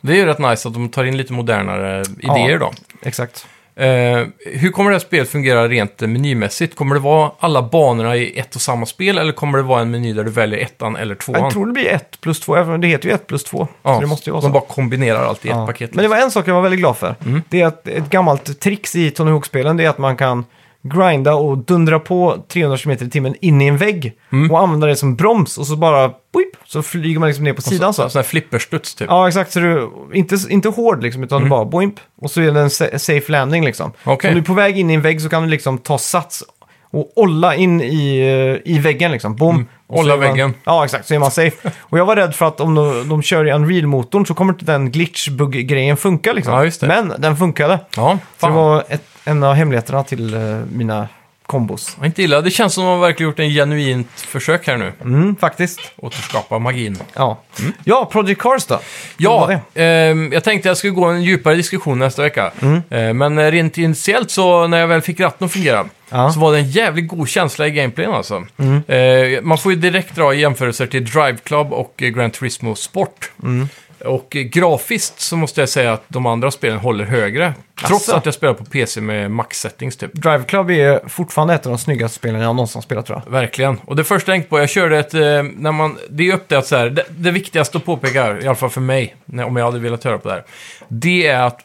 Speaker 2: det är ju rätt nice att de tar in lite modernare
Speaker 1: Ja.
Speaker 2: idéer då.
Speaker 1: Exakt.
Speaker 2: Eh, hur kommer det här spelet fungera rent eh, menymässigt? Kommer det vara alla banorna i ett och samma spel eller kommer det vara en meny där du väljer ettan eller tvåan?
Speaker 1: Jag tror det blir 1 plus 2, även om det heter ju 1 plus 2.
Speaker 2: Ja,
Speaker 1: så det måste ju vara
Speaker 2: de
Speaker 1: så.
Speaker 2: bara kombinerar allt i ett
Speaker 1: Ja.
Speaker 2: paket. liksom. Mm.
Speaker 1: Men det var en sak jag var väldigt glad för. Det är att ett gammalt trix i Tony Hawk-spelen det är att man kan grinda och dundra på 300 km i timmen in i en vägg
Speaker 2: Mm.
Speaker 1: och använda det som broms och så bara boip, så flyger man liksom ner på sidan så.
Speaker 2: Sån här flipperstuds typ.
Speaker 1: Ja, exakt. Så du, inte, inte hård liksom, utan bara boimp. Och så är det en sa- safe landing liksom.
Speaker 2: Mm. Okej.
Speaker 1: Så Om du är på väg in i en vägg så kan du liksom ta sats och olla in i, eh, i väggen liksom. Boom. Och så
Speaker 2: Mm. olla
Speaker 1: är man-
Speaker 2: väggen.
Speaker 1: Ja, exakt. Så är man safe. och jag var rädd för att om de, de kör i Unreal-motorn så kommer inte den glitch-bugg-grejen funka liksom.
Speaker 2: Ja, just det.
Speaker 1: Men den funkade.
Speaker 2: Ja,
Speaker 1: Så
Speaker 2: fan.
Speaker 1: det var ett, en av hemligheterna till eh, mina kombos.
Speaker 2: Vad Inte illa. Det känns som att de verkligen gjort en genuint försök här nu.
Speaker 1: Mm, faktiskt.
Speaker 2: Återskapa magin.
Speaker 1: Ja. ja, Project Cars då? Vad var
Speaker 2: Mm. Ja,
Speaker 1: det? Mm.
Speaker 2: ehm, jag tänkte jag skulle gå en djupare diskussion nästa vecka. Eh, men rent initiellt så när jag väl fick ratten att fungera
Speaker 1: Ja. Mm.
Speaker 2: så var det en jävligt god känsla i gameplayen alltså. Eh, man får ju direkt dra jämförelser till Drive Club och eh, Gran Turismo Sport.
Speaker 1: Mm.
Speaker 2: Och eh, grafiskt så måste jag säga att de andra spelen håller högre. Trots
Speaker 1: Asså.
Speaker 2: att jag spelar på PC med max settings typ.
Speaker 1: Drive Club är fortfarande ett av de snyggaste spelen jag någonsin har spelat tror jag.
Speaker 2: Verkligen. Och det första jag tänkte på, jag körde ett... Eh, när man, det är uppdelat så här, det, det viktigaste att påpeka här, i alla fall för mig, när, om jag hade velat höra på det här, det är att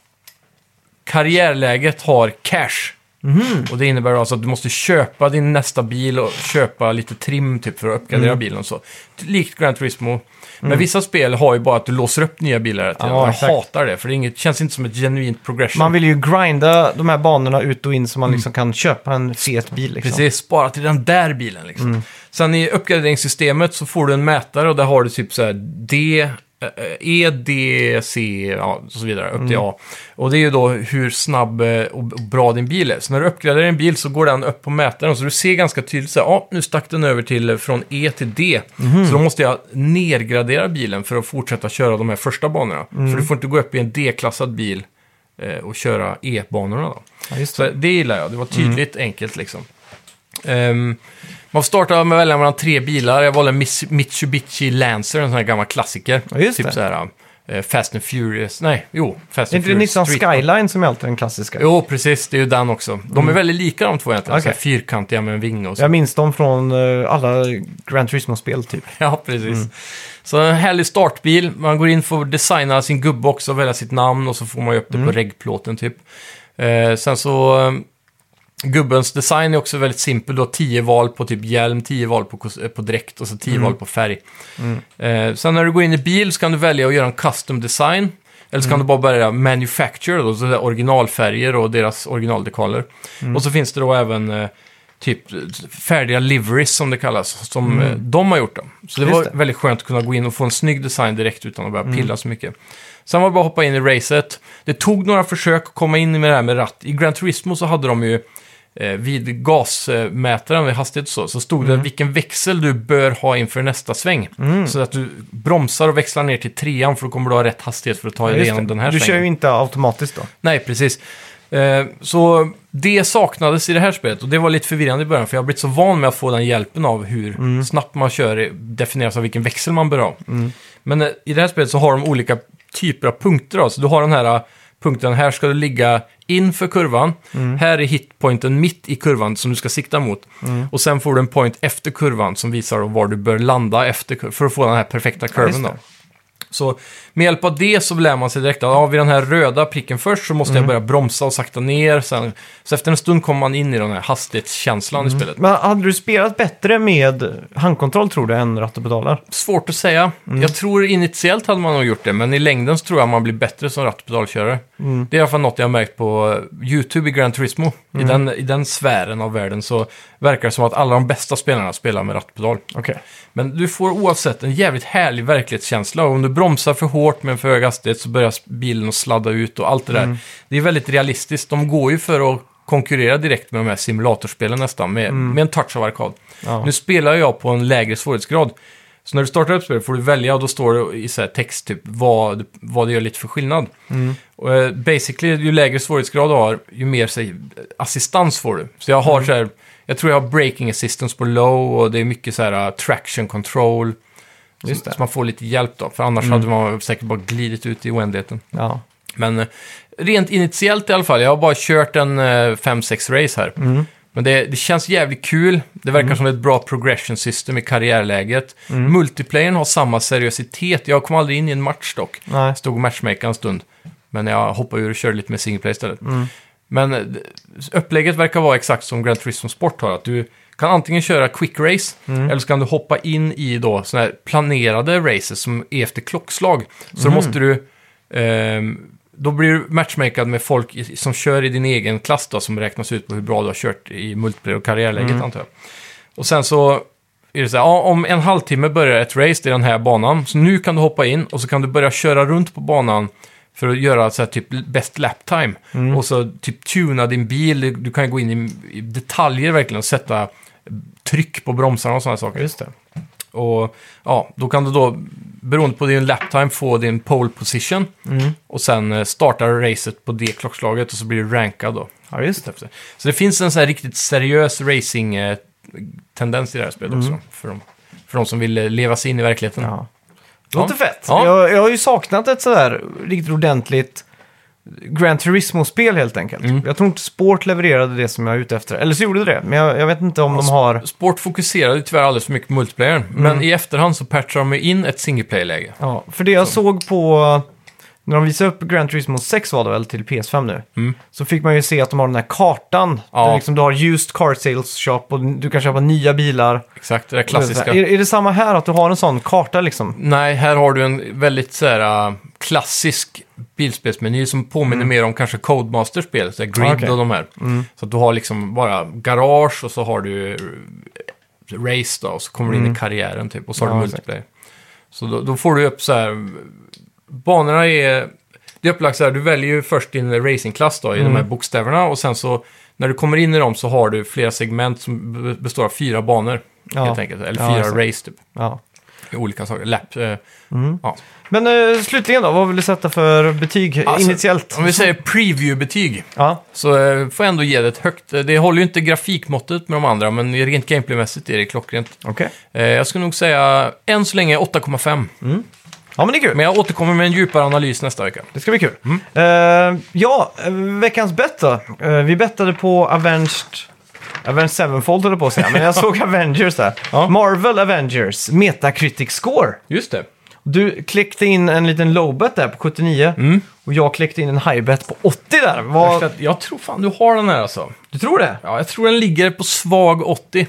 Speaker 2: karriärläget har cash.
Speaker 1: Mhm.
Speaker 2: Och det innebär alltså att du måste köpa din nästa bil och köpa lite trim typ för att uppgradera
Speaker 1: Mm.
Speaker 2: bilen och så. Likt Gran Turismo. Men vissa spel har ju bara att du låser upp nya bilar hela tiden.
Speaker 1: Ja,
Speaker 2: jag
Speaker 1: exakt.
Speaker 2: hatar det, för det är inget, känns inte som ett genuint progression.
Speaker 1: Man vill ju grinda de här banorna ut och in så man liksom kan köpa en fet bil. Liksom.
Speaker 2: Mm.
Speaker 1: Mm.
Speaker 2: Precis, spara till den där bilen liksom. Sen i uppgraderingssystemet så får du en mätare och där har du typ så här D, eh, E, D, C ja, och så vidare, upp
Speaker 1: Mm.
Speaker 2: till A. Och det är ju då hur snabb eh, och och bra din bil är. Så när du uppgraderar din bil så går den upp på mätaren så du ser ganska tydligt så här, ja, nu stack den över till eh, från E till D.
Speaker 1: Mhm.
Speaker 2: Så då måste jag nergradera bilen för att fortsätta köra de här första banorna.
Speaker 1: Mm.
Speaker 2: För du får inte gå upp i en D-klassad bil eh, och köra E-banorna då.
Speaker 1: Ja, just Mm.
Speaker 2: Så det gillar jag. Det var tydligt, enkelt liksom. Ehm, man får starta med att välja mellan tre bilar. Jag valde Mis- Mitsubishi Lancer, en sån här gammal klassiker.
Speaker 1: Ja, just
Speaker 2: typ
Speaker 1: det.
Speaker 2: så här eh, Fast and Furious. Nej, jo. Fast
Speaker 1: Är
Speaker 2: and
Speaker 1: inte det
Speaker 2: Furious
Speaker 1: Nissan
Speaker 2: Street.
Speaker 1: Skyline som är alltid den klassiska?
Speaker 2: Jo, precis. Det är ju den också. De är väldigt lika de två egentligen. Så här
Speaker 1: Okej.
Speaker 2: fyrkantiga med en vinge och så.
Speaker 1: Jag minns dem från eh, alla Gran Turismo-spel typ.
Speaker 2: *laughs* Ja, precis. Så en härlig startbil. Man går in för att designa sin gubbe också, välja sitt namn och så får man ju upp
Speaker 1: Mm.
Speaker 2: det på reggplåten typ. Eh, sen så... Eh, gubbens design är också väldigt simpel. Du har 10 val på typ hjälm, 10 val på, kos- eh, på dräkt och så
Speaker 1: Mm.
Speaker 2: 10 val på färg. Eh, sen när du går in i bil så kan du välja att göra en custom design. Eller så kan
Speaker 1: Mm.
Speaker 2: du bara välja manufacture, då, så där originalfärger och deras originaldekaler.
Speaker 1: Mm.
Speaker 2: Och så finns det då även eh, typ färdiga liveries som det kallas, som eh, de har gjort. Dem. Så det
Speaker 1: Mm. Just
Speaker 2: var
Speaker 1: det. Mm.
Speaker 2: väldigt skönt att kunna gå in och få en snygg design direkt utan att behöva pilla så mycket. Sen var det bara att hoppa in i racet. Det tog några försök att komma in med det här med ratt. I Gran Turismo så hade de ju eh, vid gasmätaren, vid hastighet och så, så stod
Speaker 1: Mm.
Speaker 2: det vilken växel du bör ha inför nästa sväng. Så att du bromsar och växlar ner till trean för då kommer du ha rätt hastighet för att ta dig
Speaker 1: Just det.
Speaker 2: igenom den här
Speaker 1: du
Speaker 2: svängen.
Speaker 1: kör ju inte automatiskt då.
Speaker 2: Nej, precis. Eh, Så det saknades i det här spelet och det var lite förvirrande i början för jag har blivit så van med att få den hjälpen av hur snabbt man kör eh, definieras av vilken växel man bör ha. Men eh, i det här spelet så har de olika typer av punkter. Då. Så du har den här eh, punkten, här ska du ligga inför kurvan. Här är hitpointen mitt i kurvan som du ska sikta mot. Och sen får du en point efter kurvan som visar då var du bör landa efter kur- för att få den här perfekta kurvan.
Speaker 1: det.
Speaker 2: då. Så med hjälp av det så lär man sig direkt att ja, vid den här röda pricken först så måste jag börja bromsa och sakta ner. Sen, så efter en stund kommer man in i den här hastighetskänslan i spelet.
Speaker 1: Men hade du spelat bättre med handkontroll tror du än ratt och pedaler?
Speaker 2: Svårt att säga. Jag tror initiellt hade man nog gjort det, men i längden så tror jag man blir bättre som ratt och pedalkörare. Det är i alla fall något jag har märkt på eh, YouTube i Gran Turismo. I, den, I den sfären av världen så verkar det som att alla de bästa spelarna spelar med ratt och pedal.
Speaker 1: Okej.
Speaker 2: Men du får oavsett en jävligt härlig verklighetskänsla. Och om du bromsar för hårt med en för hög hastighet så börjar bilen att sladda ut och allt det där. Det är väldigt realistiskt. De går ju för att konkurrera direkt med de här simulatorspelen nästan, med, med en touch av arkad.
Speaker 1: Ja.
Speaker 2: Nu spelar jag på en lägre svårighetsgrad. Så när du startar upp spelet får du välja och då står det i så här text typ vad, vad det gör lite för skillnad.
Speaker 1: Mm.
Speaker 2: Och, eh, basically, ju lägre svårighetsgrad du har, ju mer säg, assistans får du. Så jag
Speaker 1: Mm.
Speaker 2: har så här, jag tror jag har braking assistance på low och det är mycket så här eh, traction control.
Speaker 1: Just
Speaker 2: så,
Speaker 1: det. Mm.
Speaker 2: så man får lite hjälp då, för annars hade man säkert bara glidit ut i oändligheten.
Speaker 1: Ja.
Speaker 2: Men eh, rent initiellt i alla fall, jag har bara kört en 5-6 race här. Men det, det känns jävligt kul. Det verkar som ett bra progression system i karriärläget. Multiplayern har samma seriositet. Jag kom aldrig in i en match dock.
Speaker 1: Nej.
Speaker 2: Jag stod och matchmakade en stund. Men jag hoppade ur och körde lite med singleplay istället. Men eh, upplägget verkar vara exakt som Grand Turismo Sport har. Att du kan antingen köra quick race eller så kan du hoppa in i då såna här planerade races som är efter klockslag. Så då måste du ehm, Då blir du matchmakad med folk i- som kör i din egen klass då, som räknas ut på hur bra du har kört i multiplayer och karriärläget antar jag. Och sen så är det så här, ja, om en halvtimme börjar ett race i den här banan, så nu kan du hoppa in och så kan du börja köra runt på banan för att göra så här typ bäst lap time.
Speaker 1: Mm.
Speaker 2: Och så typ tuna din bil, Du- du kan gå in i, i detaljer verkligen och sätta tryck på bromsarna och sådana saker.
Speaker 1: Just det.
Speaker 2: Och ja, då kan du då, beroende på din laptime, få din pole position.
Speaker 1: Mm.
Speaker 2: Och sen eh, startar racet på det klockslaget och så blir du rankad då.
Speaker 1: Ja, just det.
Speaker 2: Så det finns en sån här riktigt seriös racing-tendens i det här spelet också. För de, för de som vill eh, leva sig in i verkligheten.
Speaker 1: Mm. Ja. Låter fett.
Speaker 2: Ja.
Speaker 1: Jag, jag har ju saknat ett sådär riktigt ordentligt Gran Turismo-spel helt enkelt.
Speaker 2: Mm.
Speaker 1: Jag tror inte Sport levererade det som jag är ute efter. Eller så gjorde det det, men jag, jag vet inte om de har...
Speaker 2: Sport fokuserade ju tyvärr alldeles för mycket på multiplayer.
Speaker 1: Mm.
Speaker 2: Men i efterhand så patchar de ju in ett singleplay-läge.
Speaker 1: Ja, för det jag såg på... När de visade upp Gran Turismo 6 var det väl till PS5 nu. Så fick man ju se att de har den här kartan.
Speaker 2: Mm. Ja.
Speaker 1: Där liksom du har used car sales shop och du kan köpa nya bilar.
Speaker 2: Exakt, det där klassiska.
Speaker 1: Är, är det samma här att du har en sån karta liksom?
Speaker 2: Nej, här har du en väldigt så här, äh, klassisk bilspelsmeny som påminner mer om kanske Codemaster-spel, så här Grid
Speaker 1: Mm. Ah, okej.
Speaker 2: och de här. Så att du har liksom bara garage och så har du eh, race då, och så kommer du in i karriären typ, och så har
Speaker 1: Mm. Ja,
Speaker 2: du multiplayer. Så då, då får du upp så här, banorna är, det är upplagt så här, du väljer ju först din racingklass då, i de här
Speaker 1: Mm.
Speaker 2: bokstäverna och sen så när du kommer in i dem så har du flera segment som be- består av fyra banor,
Speaker 1: Ja.
Speaker 2: helt enkelt. Eller
Speaker 1: Ja,
Speaker 2: fyra
Speaker 1: exakt.
Speaker 2: race typ,
Speaker 1: Ja.
Speaker 2: i olika saker. Lap, eh, ja.
Speaker 1: Men eh, slutligen då, vad vill du sätta för betyg
Speaker 2: Alltså,
Speaker 1: initiellt?
Speaker 2: Om vi säger preview-betyg
Speaker 1: Ja,
Speaker 2: så eh, får jag ändå ge det ett högt. eh, Det håller ju inte grafikmåttet med de andra, men rent gameplaymässigt är det klockrent.
Speaker 1: okej.
Speaker 2: Eh, Jag skulle nog säga, än så länge 8,5.
Speaker 1: Ja, men det är kul.
Speaker 2: Men Mm. jag återkommer med en djupare analys nästa vecka.
Speaker 1: Det ska bli kul. Eh, ja, eh, veckans bett då. Eh, vi bettade på Avenged... Avenged Sevenfold höll jag på att säga, men
Speaker 2: *laughs*
Speaker 1: jag såg Avengers där.
Speaker 2: Ja.
Speaker 1: Marvel Avengers, Metacritic Score.
Speaker 2: Just det.
Speaker 1: Du kläckte in en liten lowbet där på 79
Speaker 2: Mm.
Speaker 1: och jag kläckte in en highbet på 80 där. Vad,
Speaker 2: Jag tror fan du har den här alltså.
Speaker 1: du tror det?
Speaker 2: Ja, jag tror den ligger på svag 80.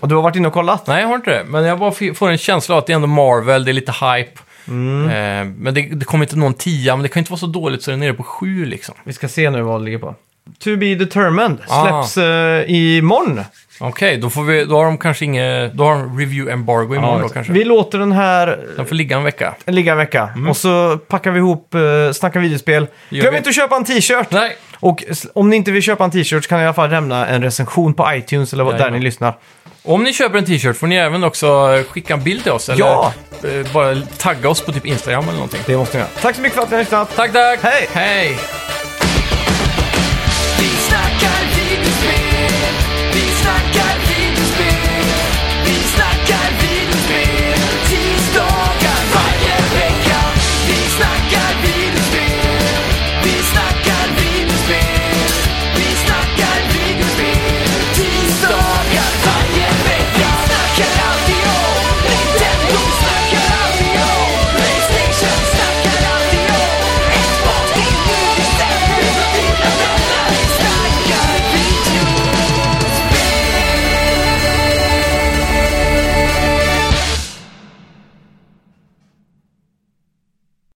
Speaker 1: Och du har varit inne och kollat?
Speaker 2: Nej, jag har inte det. Men jag bara f- får en känsla av att det är ändå Marvel, det är lite hype. Eh, Men det, det kommer inte någon tia, men det kan ju inte vara så dåligt så den är nere på 7 liksom.
Speaker 1: Vi ska se nu vad det ligger på. To be determined
Speaker 2: Ah.
Speaker 1: släpps eh, imorgon.
Speaker 2: Okej, då, får vi, då har de kanske inget... Då har de review embargo imorgon då kanske.
Speaker 1: Mm. Vi låter den här
Speaker 2: Den får ligga en vecka.
Speaker 1: eh, ligga en vecka och så packar vi ihop eh, Snacka videospel.
Speaker 2: Mm. Gör
Speaker 1: Glöm
Speaker 2: vi.
Speaker 1: inte att köpa en t-shirt!
Speaker 2: Nej,
Speaker 1: Och s- om ni inte vill köpa en t-shirt så kan ni i alla fall lämna en recension på iTunes eller vad- där
Speaker 2: Jajamän.
Speaker 1: ni lyssnar.
Speaker 2: om ni köper en t-shirt får ni även också skicka en bild till oss. Eller
Speaker 1: Ja.
Speaker 2: eh, bara tagga oss på typ Instagram eller någonting.
Speaker 1: Det måste ni göra. Tack så mycket för att ni har lyssnat!
Speaker 2: Tack, tack!
Speaker 1: Hej!
Speaker 2: Hej!
Speaker 3: Vi snackar